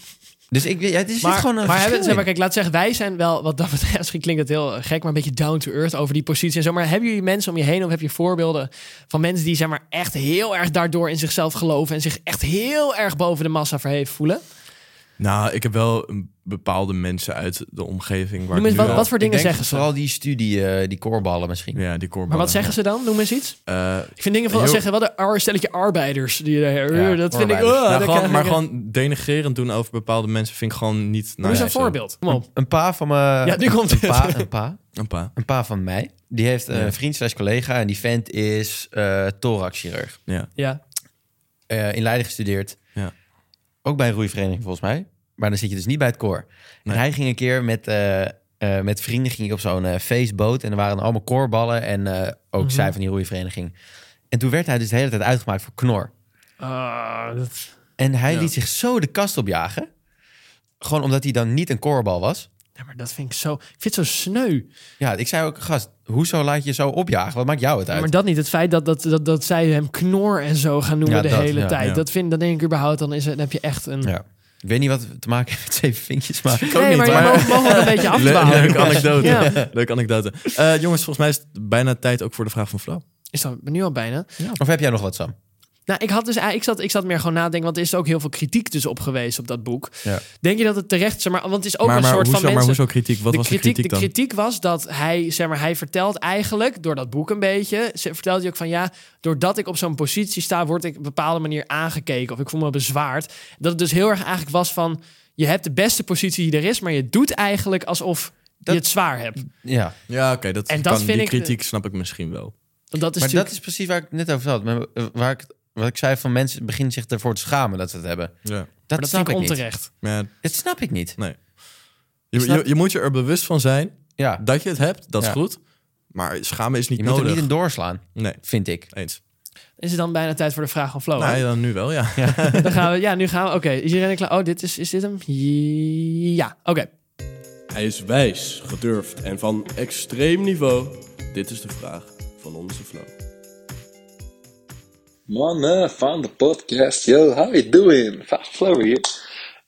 Speaker 3: Dus ik, ja, het is
Speaker 2: Maar,
Speaker 3: gewoon
Speaker 2: maar,
Speaker 3: een
Speaker 2: hebben,
Speaker 3: verschil
Speaker 2: zeg maar
Speaker 3: in.
Speaker 2: kijk, laat zeggen, wij zijn wel, wat dat betreft, misschien klinkt het heel gek, maar een beetje down to earth over die positie en zo. Maar hebben jullie mensen om je heen of heb je voorbeelden van mensen die zeg maar echt heel erg daardoor in zichzelf geloven en zich echt heel erg boven de massa verheven voelen?
Speaker 1: Nou, ik heb wel een bepaalde mensen uit de omgeving waar
Speaker 2: Noem
Speaker 1: ik
Speaker 2: eens
Speaker 1: nu
Speaker 2: wat,
Speaker 1: wel-
Speaker 2: wat voor
Speaker 3: Ik
Speaker 2: dingen
Speaker 3: denk
Speaker 2: zeggen ze?
Speaker 3: Vooral die studie, eh, die koorballen misschien.
Speaker 1: Ja, die korballen.
Speaker 2: Maar wat zeggen ze dan? Noem eens iets.
Speaker 1: Oh. Eh,
Speaker 2: Ik vind dingen van
Speaker 1: Heel-
Speaker 2: zeggen, wat een ar- stelletje arbeiders. Die, daar-
Speaker 3: Ja,
Speaker 2: dat vind ik...
Speaker 3: arbeiders.
Speaker 2: oh,
Speaker 1: nou,
Speaker 2: dat
Speaker 1: gewoon,
Speaker 2: kan-
Speaker 1: maar gewoon denigrerend doen over bepaalde mensen vind ik gewoon niet...
Speaker 2: Noem
Speaker 1: Nou,
Speaker 2: eens
Speaker 1: ja,
Speaker 2: een
Speaker 1: zo.
Speaker 2: voorbeeld. Kom op.
Speaker 3: Een pa van mijn...
Speaker 2: Ja, nu komt
Speaker 3: een
Speaker 2: het.
Speaker 3: Pa, een pa
Speaker 1: Een paar.
Speaker 3: een paar van mij. Die heeft een
Speaker 1: Ja.
Speaker 3: vriend slash collega en die vent is eh thoraxchirurg.
Speaker 1: Ja.
Speaker 2: Ja.
Speaker 3: Eh, in Leiden gestudeerd.
Speaker 1: Ja.
Speaker 3: Ook bij een roeivereniging volgens mij. Maar dan zit je dus niet bij het koor.
Speaker 1: Nee.
Speaker 3: En hij ging een keer met, eh, eh, met vrienden ging hij op zo'n eh, feestboot. En er waren allemaal koorballen en eh, ook zij van die roeivereniging. En toen werd hij dus de hele tijd uitgemaakt voor knor.
Speaker 2: Ah, dat...
Speaker 3: En hij
Speaker 1: Ja.
Speaker 3: liet zich zo de kast opjagen. Gewoon omdat hij dan niet een koorbal was.
Speaker 2: Ja, maar dat vind ik zo... Ik vind het zo sneu.
Speaker 3: Ja, ik zei ook, gast, hoezo laat je je zo opjagen? Wat maakt jou het uit?
Speaker 2: Maar dat niet. Het feit dat, dat, dat, dat zij hem knor en zo gaan noemen
Speaker 3: Ja,
Speaker 2: de
Speaker 3: dat,
Speaker 2: hele
Speaker 3: ja,
Speaker 2: tijd.
Speaker 1: ja.
Speaker 2: Dat, vind, dat denk ik überhaupt, dan, is, het- dan heb je echt een...
Speaker 3: Ja. Ik weet niet wat het te maken heeft met zeven vinkjes, maar...
Speaker 2: Nee, maar je mag- mag wel een beetje
Speaker 1: Le-
Speaker 2: afdwalen.
Speaker 1: leuke anekdote.
Speaker 2: Ja.
Speaker 1: Leuke anekdote. Eh, jongens, volgens mij is het bijna tijd ook voor de vraag van Flo.
Speaker 2: Is dat nu al bijna?
Speaker 3: Of heb jij nog wat, Sam?
Speaker 2: Nou, ik, had dus, ik, zat, ik zat meer gewoon nadenken, want er is ook heel veel kritiek dus op geweest op dat boek.
Speaker 3: Ja.
Speaker 2: Denk je dat het terecht is? Maar, want het is ook
Speaker 1: maar,
Speaker 2: een
Speaker 1: maar,
Speaker 2: soort
Speaker 1: hoezo,
Speaker 2: van
Speaker 1: maar
Speaker 2: mensen...
Speaker 1: hoezo kritiek? Wat was de kritiek
Speaker 2: de
Speaker 1: dan?
Speaker 2: kritiek was dat hij, zeg maar, hij vertelt eigenlijk door dat boek een beetje. Ze vertelt hij ook van ja, doordat ik op zo'n positie sta, word ik op een bepaalde manier aangekeken of ik voel me bezwaard. Dat het dus heel erg eigenlijk was van je hebt de beste positie die er is, maar je doet eigenlijk alsof
Speaker 3: Dat-
Speaker 2: je het zwaar hebt.
Speaker 3: Ja,
Speaker 1: Ja, oké, dat,
Speaker 2: En dat
Speaker 1: kan,
Speaker 2: vind
Speaker 1: die
Speaker 2: ik-
Speaker 1: kritiek snap ik misschien wel.
Speaker 2: Want dat is
Speaker 3: maar dat
Speaker 2: natuurlijk.
Speaker 3: is precies waar ik het net over had. Maar, eh, Waar ik, wat ik zei van mensen beginnen zich ervoor te schamen dat ze het hebben.
Speaker 1: Ja.
Speaker 3: Dat,
Speaker 2: maar dat
Speaker 3: snap
Speaker 2: vind
Speaker 3: ik
Speaker 2: ik
Speaker 3: niet.
Speaker 2: onterecht.
Speaker 1: Maar
Speaker 3: Dat snap ik
Speaker 1: Nou,
Speaker 3: niet.
Speaker 1: je,
Speaker 3: snap-
Speaker 1: je, je moet je er bewust van zijn
Speaker 3: Ja,
Speaker 1: dat je het hebt, dat is
Speaker 3: Ja.
Speaker 1: goed. Maar schamen is niet
Speaker 3: je moet
Speaker 1: nodig.
Speaker 3: er niet in doorslaan,
Speaker 1: Nee,
Speaker 3: vind ik.
Speaker 1: eens.
Speaker 2: Is het dan bijna tijd voor de vraag van Flo?
Speaker 1: nou,
Speaker 4: Oh,
Speaker 2: hè?
Speaker 1: ja, dan nu wel, ja.
Speaker 2: Dan gaan we, ja, nu gaan we. Oké, is iedereen klaar? Oh, dit is, is dit hem? Ja, oké.
Speaker 5: Hij is wijs, gedurfd en van extreem niveau. Dit is de vraag van onze Flo.
Speaker 6: Mannen van de podcast, yo, how you doing? Vaag Flow hier.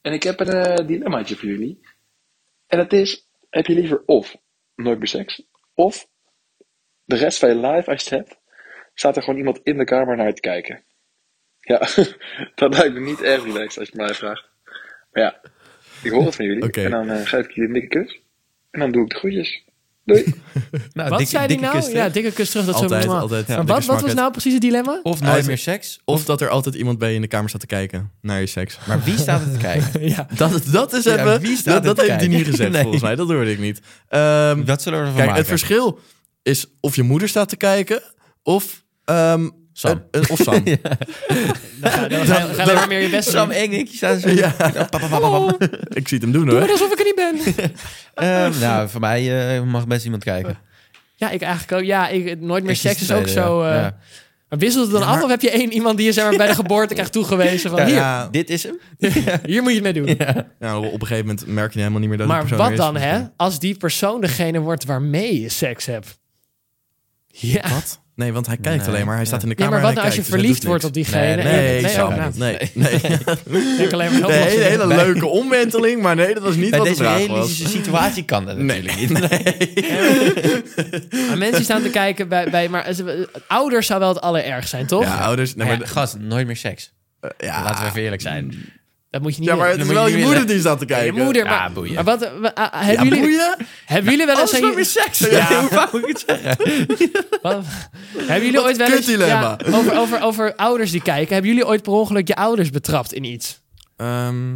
Speaker 6: En ik heb een eh, dilemmaatje voor jullie. En dat is, heb je liever of nooit meer seks, of de rest van je life, als je het hebt, staat er gewoon iemand in de kamer naar je te kijken? Ja, dat lijkt me niet erg relaxed als je het mij vraagt. Maar ja, ik hoor het van jullie.
Speaker 1: Oké.
Speaker 6: En dan eh, geef ik jullie een dikke kus. En dan doe ik de groetjes. Doei.
Speaker 3: Nou,
Speaker 2: Wat
Speaker 3: dikke-
Speaker 2: zei die
Speaker 3: dikke
Speaker 2: nou?
Speaker 3: kus terug.
Speaker 2: ja, dikke kus terug. Dat zo
Speaker 1: altijd,
Speaker 2: normaal.
Speaker 1: altijd.
Speaker 2: Maar
Speaker 1: Dikke Oh.
Speaker 2: wat, wat was
Speaker 1: smakkers.
Speaker 2: nou precies het dilemma?
Speaker 3: Of nooit
Speaker 1: Hij-
Speaker 3: meer seks.
Speaker 1: Of dat er altijd iemand bij je in de kamer staat te kijken naar je seks.
Speaker 3: Maar wie staat er te kijken?
Speaker 2: ja.
Speaker 1: Dat, dat is
Speaker 3: Ja,
Speaker 1: even...
Speaker 3: wie staat
Speaker 1: dat
Speaker 3: er
Speaker 1: dat
Speaker 3: te
Speaker 1: heeft hij niet
Speaker 3: kijken?
Speaker 1: gezegd,
Speaker 3: Nee.
Speaker 1: volgens mij. Dat hoorde ik niet. Ehm,
Speaker 3: Wat zullen we ervan
Speaker 1: Kijk,
Speaker 3: maken?
Speaker 1: het verschil is of je moeder staat te kijken of ehm,
Speaker 3: Sam.
Speaker 4: Eh, eh, of Sam.
Speaker 2: Dan ga, dan ga- dan ga je maar meer je best doen.
Speaker 3: Sam
Speaker 2: Doe
Speaker 3: en ik die staan zo. Oh, Ja.
Speaker 4: Ik zie het hem doen hoor.
Speaker 2: maar alsof ik er niet ben.
Speaker 3: nou, voor mij eh, mag best iemand kijken.
Speaker 2: Ja, ik eigenlijk ook. Ja, ik, nooit meer
Speaker 3: Ik kies
Speaker 2: seks is
Speaker 3: de
Speaker 2: ook
Speaker 3: tweede,
Speaker 2: zo...
Speaker 3: ja.
Speaker 2: eh,
Speaker 3: Ja.
Speaker 2: Maar wisselt het dan af of heb je één iemand die je zeg maar, bij de geboorte krijgt toegewezen van
Speaker 3: Ja,
Speaker 2: hier,
Speaker 4: Ja.
Speaker 3: Dit is hem.
Speaker 2: hier moet je het mee doen.
Speaker 4: Nou, op een gegeven moment merk je helemaal niet meer dat het
Speaker 2: maar
Speaker 4: persoon
Speaker 2: wat
Speaker 4: er
Speaker 2: dan,
Speaker 4: is.
Speaker 2: hè? Als die persoon degene wordt waarmee je seks hebt. Ja.
Speaker 4: Wat? Nee, want hij kijkt
Speaker 3: Nee,
Speaker 4: alleen maar. Hij
Speaker 3: ja.
Speaker 4: staat in de
Speaker 2: Ja,
Speaker 4: kamer.
Speaker 2: maar wat
Speaker 4: en hij
Speaker 2: nou als je verliefd
Speaker 4: kijkt, dus hij
Speaker 2: wordt
Speaker 4: doet
Speaker 2: op diegene?
Speaker 3: Nee,
Speaker 2: en-
Speaker 4: niks. Nee,
Speaker 2: ook,
Speaker 4: Sam
Speaker 2: nou,
Speaker 4: niet. nee, nee.
Speaker 2: ik denk alleen maar heel
Speaker 4: De
Speaker 2: veel
Speaker 4: hele,
Speaker 2: dingen.
Speaker 4: hele leuke omwenteling, maar nee, dat was niet
Speaker 3: Bij
Speaker 4: wat de
Speaker 3: deze
Speaker 4: vraag was.
Speaker 3: realistische situatie kan dat natuurlijk niet.
Speaker 2: Maar mensen staan te kijken bij... bij maar eh, ouders zou wel het allerergst zijn, toch?
Speaker 4: Ja, ouders. Nee,
Speaker 3: Maar
Speaker 4: maar,
Speaker 3: ja, gast, nooit meer seks.
Speaker 4: ja.
Speaker 3: Laten we even eerlijk
Speaker 2: Mm.
Speaker 3: zijn.
Speaker 2: Dat moet je niet
Speaker 4: ja, maar het
Speaker 2: willen.
Speaker 4: is
Speaker 3: moet
Speaker 4: wel
Speaker 3: je
Speaker 4: je
Speaker 3: niet
Speaker 4: moeder
Speaker 3: willen.
Speaker 4: die staat te kijken.
Speaker 2: je moeder. Maar,
Speaker 3: Ja, boeien.
Speaker 2: maar wat, eh, wa- ah, hebben,
Speaker 4: Ja,
Speaker 2: jullie,
Speaker 4: boeien?
Speaker 2: hebben jullie wel eens...
Speaker 3: Alles
Speaker 2: aan
Speaker 3: nooit meer
Speaker 2: je-
Speaker 3: seks. Ja, hoe vaak moet ik het zeggen?
Speaker 2: wat- Hebben jullie ooit wel eens...
Speaker 4: kutdilemma.
Speaker 2: ja, over, over, over ouders die kijken. Hebben jullie ooit per ongeluk je ouders betrapt in iets?
Speaker 4: Ehm,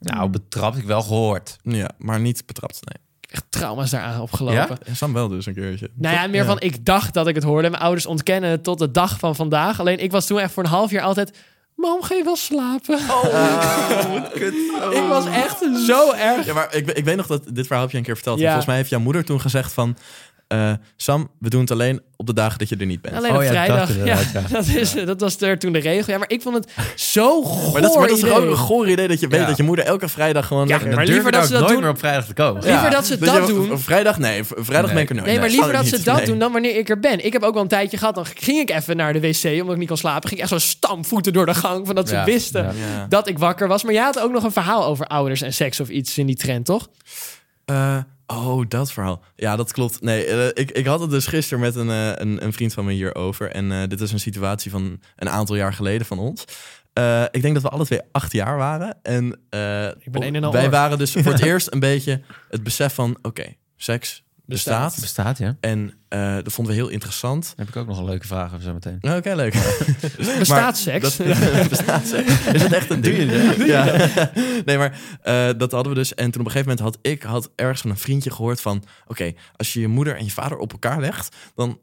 Speaker 3: Nou, betrapt, ik wel gehoord.
Speaker 4: ja, maar niet betrapt. Nee.
Speaker 2: Echt trauma's daaraan opgelopen.
Speaker 3: Ja?
Speaker 4: Sam wel dus een keertje.
Speaker 2: Nou ja, meer van ik dacht dat ik het hoorde. Mijn ouders ontkennen het tot de dag van vandaag. Alleen ik was toen echt voor een half jaar altijd... Mam, ga je wel slapen? Ik was echt zo erg.
Speaker 4: Ja, maar ik, ik weet nog dat dit verhaal heb je een keer verteld.
Speaker 2: Ja.
Speaker 4: En Volgens mij heeft jouw moeder toen gezegd van... eh, Sam, we doen het alleen op de dagen dat je er niet bent.
Speaker 2: Alleen
Speaker 3: Oh
Speaker 2: op
Speaker 3: ja, dat dacht
Speaker 2: vrijdag.
Speaker 3: ik
Speaker 2: ja,
Speaker 3: inderdaad, ja.
Speaker 2: dat, is, dat was er toen de regel. Ja, maar ik vond het zo goor
Speaker 4: maar dat, is- maar dat is
Speaker 2: idee.
Speaker 4: gewoon een goor idee dat je weet
Speaker 3: Ja.
Speaker 4: dat je moeder elke vrijdag gewoon...
Speaker 2: Ja,
Speaker 4: lekker-
Speaker 2: maar liever dat
Speaker 3: Durf
Speaker 2: ze
Speaker 3: er ook
Speaker 2: dat
Speaker 3: nooit
Speaker 2: doen.
Speaker 3: meer op vrijdag te komen.
Speaker 2: Ja. liever dat ze dat
Speaker 4: je-
Speaker 2: doen.
Speaker 4: v- Vrijdag, nee. v- Vrijdag ben ik er nooit.
Speaker 2: Nee, maar liever dat ze dat
Speaker 4: Oh, Nee.
Speaker 2: doen dan wanneer ik er ben. Ik heb ook wel een tijdje gehad. Dan ging ik even naar de wc omdat ik niet kon slapen. Ging ik echt zo stampvoeten door de gang. Van dat ze
Speaker 3: Ja,
Speaker 2: wisten
Speaker 3: ja.
Speaker 4: Ja.
Speaker 2: dat ik wakker was. Maar jij had ook nog een verhaal over ouders en seks of iets in die trend, toch?
Speaker 4: Eh, oh, dat verhaal. Ja, dat klopt. Nee, eh, ik, ik had het dus gisteren met een, eh, een, een vriend van me hierover. En eh, dit is een situatie van een aantal jaar geleden van ons. Eh, ik denk dat we alle twee acht jaar waren. En, eh,
Speaker 2: ben een en al
Speaker 4: wij
Speaker 2: oor.
Speaker 4: waren dus voor het eerst een beetje het besef van... Oké, seks bestaat.
Speaker 3: Het bestaat, ja.
Speaker 4: En eh, dat vonden we heel interessant. Nou,
Speaker 3: Dan heb ik ook nog een leuke vraag of zo meteen.
Speaker 4: Oké, leuk.
Speaker 2: Bestaat seks?
Speaker 4: Dat, bestaat seks? Is dat echt een ding? ja. Nee, maar eh, dat hadden we dus. En toen op een gegeven moment had ik had ergens van een vriendje gehoord van... Oké, als je je moeder en je vader op elkaar legt, dan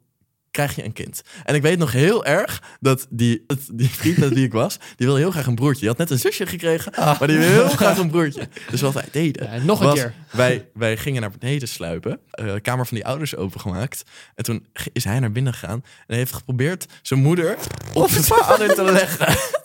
Speaker 4: krijg je een kind. En ik weet nog heel erg dat die, het- die vriend met wie ik was... die wilde heel graag een broertje. Die had net een zusje gekregen, maar die wilde heel graag een broertje. Dus wat wij deden...
Speaker 2: Ah. Ja, nog een
Speaker 4: was,
Speaker 2: keer.
Speaker 4: Wij, wij gingen naar beneden sluipen. eh, de kamer van die ouders opengemaakt. En toen g- is hij naar binnen gegaan. En hij heeft geprobeerd zijn moeder op zijn vader te leggen.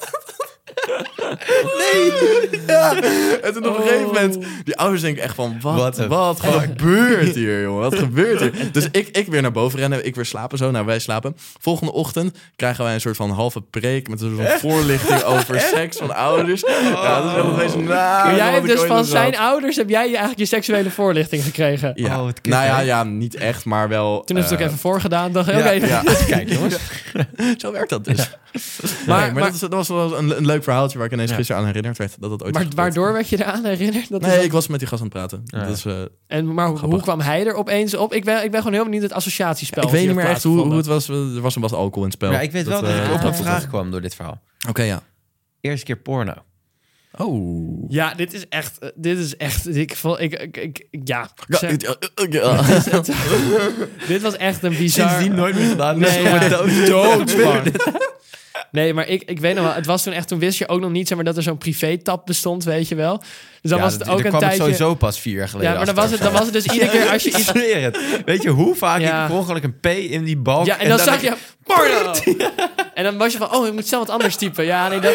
Speaker 4: Nee! Ja. En toen op een gegeven
Speaker 2: Oh.
Speaker 4: moment... Die ouders denken echt van...
Speaker 3: What
Speaker 4: Wat,
Speaker 3: the
Speaker 4: wat gebeurt hier, jongen? Wat gebeurt hier? Dus ik, ik weer naar boven rennen. Ik weer slapen zo. Nou, wij slapen. Volgende ochtend krijgen wij een soort van halve preek... met een soort van voorlichting over seks van ouders. Ja, dat is wel een beetje...
Speaker 2: Maar
Speaker 4: Nou,
Speaker 2: jij hebt dus van zijn
Speaker 4: ouders.
Speaker 2: ouders heb jij eigenlijk je seksuele voorlichting gekregen.
Speaker 4: Ja.
Speaker 3: Oh, wat kut,
Speaker 4: nou ja,
Speaker 3: hè?
Speaker 4: ja, niet echt, maar wel...
Speaker 2: Toen heeft het
Speaker 4: eh,
Speaker 2: ook even voorgedaan. Dacht, ik, oké.
Speaker 4: ja.
Speaker 3: Kijk, jongens.
Speaker 4: Zo werkt dat dus. Nee,
Speaker 2: Maar-
Speaker 4: Maar,
Speaker 2: maar-
Speaker 4: dat, is- dat was wel een, een leuk verhaaltje waar ik ineens gisteren aan herinnerd werd. Dat dat ooit
Speaker 2: Maar
Speaker 4: is gebeurd.
Speaker 2: waardoor werd je eraan herinnerd? Dat is
Speaker 4: Nee,
Speaker 2: wel-
Speaker 4: ik was met die gast aan het praten. Dat is, eh,
Speaker 2: en, maar hoe, hoe kwam hij er opeens op? Ik ben, ik ben gewoon heel benieuwd het associatiespel.
Speaker 4: ik
Speaker 2: wat
Speaker 4: weet niet
Speaker 2: hier
Speaker 4: meer echt hoe, hoe
Speaker 2: plaatsgevonden.
Speaker 4: het was. eh, Er was een wat alcohol in het spel.
Speaker 3: Maar ik weet wel dat
Speaker 4: eh,
Speaker 3: ik op een
Speaker 4: dat-
Speaker 3: vraag kwam door dit verhaal.
Speaker 4: Oké, ja.
Speaker 3: Eerste keer porno.
Speaker 4: Oh.
Speaker 2: Ja, dit is echt... eh, Dit is echt... Ik, vo- ik, ik, ik- ik- ja.
Speaker 4: Ja,
Speaker 2: Zeg,
Speaker 4: dit- ja, eh, ja, ja.
Speaker 2: dit was echt een bizar...
Speaker 3: nooit meer gedaan.
Speaker 2: Nee,
Speaker 3: Nee,
Speaker 2: ja.
Speaker 3: doodsbang.
Speaker 2: Nee, maar ik, ik weet nog wel... Het was toen echt... Toen wist je ook nog niet zeg maar, dat er zo'n privé-tab bestond, weet je wel. Dus dan was het ook
Speaker 3: daar
Speaker 2: een
Speaker 3: kwam ik
Speaker 2: tijdje...
Speaker 3: sowieso pas vier jaar geleden
Speaker 2: ja, maar dan
Speaker 3: achter
Speaker 2: was,
Speaker 3: of
Speaker 2: het, dan
Speaker 3: zo.
Speaker 2: was het dus iedere keer als je
Speaker 3: Ik
Speaker 2: iets...
Speaker 3: zweer het. Weet je hoe vaak
Speaker 2: Ja.
Speaker 3: ik per ongeluk een P in die balk...
Speaker 2: Ja, en dan zag
Speaker 3: denk ik,
Speaker 2: je... Porno! En dan was je van, oh, ik moet snel wat anders typen. Ja, nee, dat,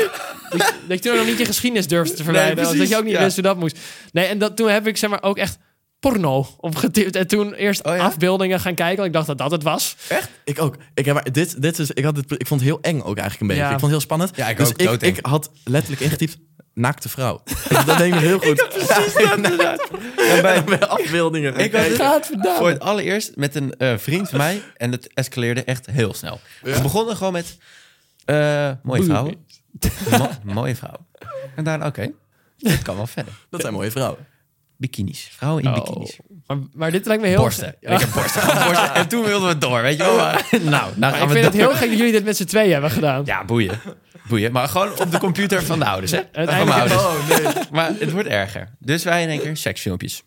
Speaker 2: dat je- dat je toen nog niet je geschiedenis durfde te verwijderen.
Speaker 3: precies,
Speaker 2: dat je ook niet
Speaker 3: ja.
Speaker 2: wist hoe dat moest. Nee, en dat, toen heb ik zeg maar ook echt porno opgetipt. En toen eerst
Speaker 3: Oh ja?
Speaker 2: afbeeldingen gaan kijken, want ik dacht dat dat het was.
Speaker 4: Ik ook. Ik, heb, maar dit, dit is, ik, had dit, ik vond het heel eng ook eigenlijk een beetje.
Speaker 2: Ja.
Speaker 4: Ik vond het heel spannend.
Speaker 3: Ja, ik
Speaker 4: dus
Speaker 3: ook,
Speaker 4: ik,
Speaker 3: doodeng.
Speaker 4: ik had letterlijk ingetypt naakte vrouw. dat denk ik nog heel goed. precies
Speaker 3: En bij,
Speaker 4: Bij afbeeldingen.
Speaker 3: ik had het
Speaker 2: Gaat verdamme.
Speaker 3: voor het allereerst met een eh, vriend van mij... en het escaleerde echt heel snel. We begonnen gewoon met... eh, mooie vrouw. Mo- mooie vrouw. En daarna, oké, dit kan wel verder.
Speaker 4: Dat zijn mooie vrouwen. Ah,
Speaker 3: Bikinis. Vrouwen in bikinis.
Speaker 2: Maar, maar dit lijkt me heel...
Speaker 3: Borsten. Ik heb borsten. gewoon borsten. En toen wilden we door, weet je wel. Maar- Nou, nou
Speaker 2: Maar
Speaker 3: gaan
Speaker 2: ik
Speaker 3: we
Speaker 2: vind het
Speaker 3: door.
Speaker 2: heel gek dat jullie dit met z'n tweeën hebben gedaan.
Speaker 3: Ja, boeien. Boeien. Maar gewoon op de computer van de ouders, hè? Van mijn
Speaker 2: Uiteindelijk-
Speaker 3: ouders. Maar het wordt erger. Dus wij in één keer seksfilmpjes.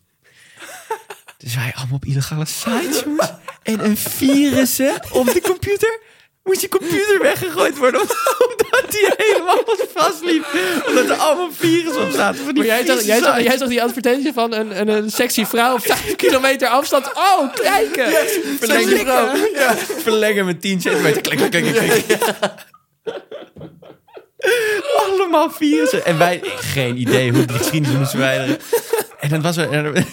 Speaker 3: Dus wij allemaal op illegale sites, jongens. En een virus, hè, op de computer. moest je computer weggegooid worden. Omdat die helemaal vastliep. Omdat er allemaal virus op zaten. Van die
Speaker 2: Maar jij zag,
Speaker 3: vieze
Speaker 2: jij, zag,
Speaker 3: site.
Speaker 2: jij zag die advertentie van een, een, een sexy vrouw op 5 kilometer afstand. Oh, kijken!
Speaker 3: Verlengen, bro. Ja. Verlengen met 10 centimeter. Klik, klik, klik, klik. Allemaal virussen. En wij, geen idee hoe die geschiedenis moest verwijderen. En, dat was er, en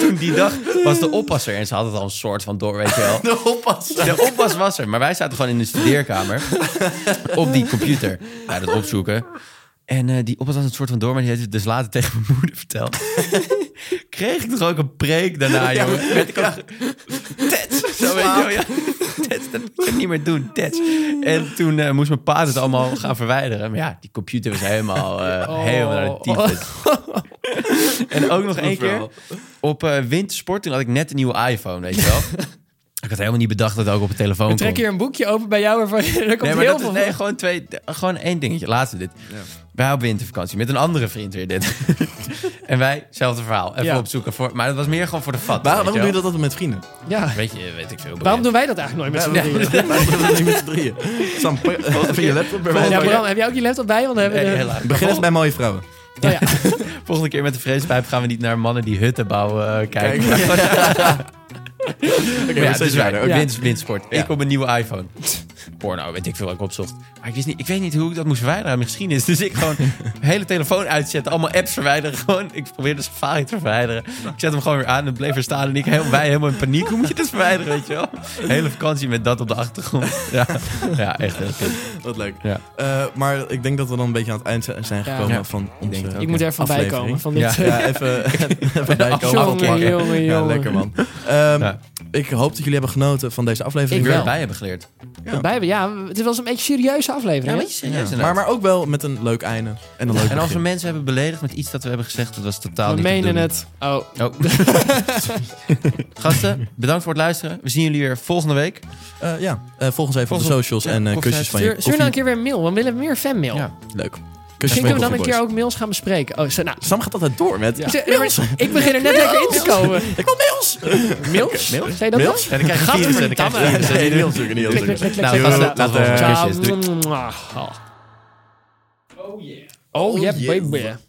Speaker 3: toen die dag was de oppasser. En ze hadden het al een soort van door, weet je wel.
Speaker 1: De oppas.
Speaker 3: De oppas was er, maar wij zaten gewoon in de studeerkamer op die computer. Wij dat opzoeken. En eh, die oppas was een soort van door, maar die heeft het dus later tegen mijn moeder verteld. Kreeg ik toch ook een preek daarna, jongen. Werd ik ook... Tets! Zo weet je wel, ja. Tets, dat kan ik niet meer doen. Tets. En toen eh, moest mijn pa het allemaal gaan verwijderen. Maar ja, die computer was helemaal, eh, helemaal naar de tyfus. En ook nog één keer op eh, wintersport. Toen had ik net een nieuwe iPhone, weet je wel. ik had helemaal niet bedacht dat het ook op een telefoon
Speaker 2: Trek
Speaker 3: kon.
Speaker 2: hier een boekje open bij jou waarvan er komt
Speaker 3: Nee, maar
Speaker 2: heel
Speaker 3: dat
Speaker 2: veel
Speaker 3: is, nee, gewoon, twee, gewoon één dingetje. Laatste dit. Wij op wintervakantie met een andere vriend weer dit. en wij, hetzelfde verhaal. Even
Speaker 2: Ja.
Speaker 3: opzoeken. Voor, maar dat was meer gewoon voor de vat.
Speaker 1: Waarom doe
Speaker 3: weet
Speaker 1: je
Speaker 3: wel.
Speaker 1: dat altijd met vrienden?
Speaker 2: Ja.
Speaker 3: Weet je, weet ik veel.
Speaker 2: Waarom doen wij dat eigenlijk nooit met z'n drieën?
Speaker 1: Waarom doen we dat niet met z'n drieën? Sam,
Speaker 4: eh,
Speaker 1: even je laptop erbij.
Speaker 2: Ja, Bram, heb jij ook je laptop bij? Want dan hebben we
Speaker 3: Nee,
Speaker 2: de-
Speaker 3: Eh, helaas.
Speaker 1: Begin eens bij mooie vrouwen.
Speaker 2: Oh, ja.
Speaker 3: Volgende keer met de vreespijp gaan we niet naar mannen die hutten bouwen eh, kijken. Maar gewoon-
Speaker 1: Oké,
Speaker 3: Maar ja, dus
Speaker 2: Ja.
Speaker 3: wij, winst, winstsport.
Speaker 1: Ja.
Speaker 3: Ik op een nieuwe iPhone. Porno, weet ik veel wat ik opzocht. Maar ik, wist niet, ik weet niet hoe ik dat moest verwijderen uit mijn geschiedenis. Dus ik gewoon mijn hele telefoon uitzetten, allemaal apps verwijderen. Gewoon, ik probeerde Safari te verwijderen. Ik zet hem gewoon weer aan en bleef er staan. En ik heel, wij helemaal in paniek. Hoe moet je dit verwijderen, weet je wel? Hele vakantie met dat op de achtergrond. Ja, ja echt heel kut.
Speaker 1: Wat leuk.
Speaker 3: Ja.
Speaker 1: Eh, maar ik denk dat we dan een beetje aan het eind zijn zijn
Speaker 2: Ja.
Speaker 1: gekomen
Speaker 3: Ja.
Speaker 1: van onze
Speaker 3: denk het ook.
Speaker 2: Ik moet er even bij
Speaker 1: Aflevering.
Speaker 2: komen van dit.
Speaker 3: Ja.
Speaker 1: Ja, even, even bijkomen.
Speaker 2: Jongen,
Speaker 1: afpakken.
Speaker 2: jongen,
Speaker 1: Ja,
Speaker 2: jongen.
Speaker 1: lekker man. Ehm,
Speaker 3: Ja.
Speaker 1: Ik hoop dat jullie hebben genoten van deze aflevering.
Speaker 3: Ik
Speaker 2: wel.
Speaker 3: wil erbij hebben geleerd.
Speaker 2: Bij, ja, het was een beetje een serieuze aflevering. hè?
Speaker 3: serieus.
Speaker 1: Maar, maar ook wel met een leuk einde. En een leuk
Speaker 3: en als we
Speaker 1: begin.
Speaker 3: mensen hebben beledigd met iets dat we hebben gezegd, dat was totaal
Speaker 2: we
Speaker 3: niet te
Speaker 2: menen
Speaker 3: doen.
Speaker 2: het. Oh,
Speaker 3: Oh. Gasten, bedankt voor het luisteren. We zien jullie weer volgende week.
Speaker 1: Eh, ja, eh, volg ons even op
Speaker 3: Volg
Speaker 1: de
Speaker 3: ons-
Speaker 1: socials
Speaker 3: ja,
Speaker 1: en eh,
Speaker 3: koffie-
Speaker 1: kusjes van je
Speaker 2: stuur, stuur
Speaker 1: koffie.
Speaker 2: nou een keer weer een mail. want We willen meer fanmail.
Speaker 3: Ja.
Speaker 1: Leuk.
Speaker 2: Misschien
Speaker 1: Kusjes van je
Speaker 2: kunnen we dan een
Speaker 1: Koffie
Speaker 2: keer
Speaker 1: Boys.
Speaker 2: ook mails gaan bespreken. Oh, zo- nou,
Speaker 1: Sam gaat altijd door met...
Speaker 2: Ze- nee, maar ik begin er net lekker in te komen.
Speaker 1: Ik wil mails!
Speaker 2: Mails?
Speaker 3: Mails?
Speaker 2: Zei je dat
Speaker 1: Mails?
Speaker 2: dan?
Speaker 3: En dan krijg je
Speaker 2: Gadverdamme.
Speaker 3: virussen. en Dan krijg je virussen.
Speaker 1: Nee, mails natuurlijk niet.
Speaker 2: Klik, klik, klik, klik.
Speaker 3: Nou,
Speaker 2: klik.
Speaker 3: gasten,
Speaker 2: Ciao.
Speaker 3: laat
Speaker 2: Ah,
Speaker 3: volgens
Speaker 1: later.
Speaker 3: kusjes. Doei.
Speaker 2: Mwah. Oh yeah, baby.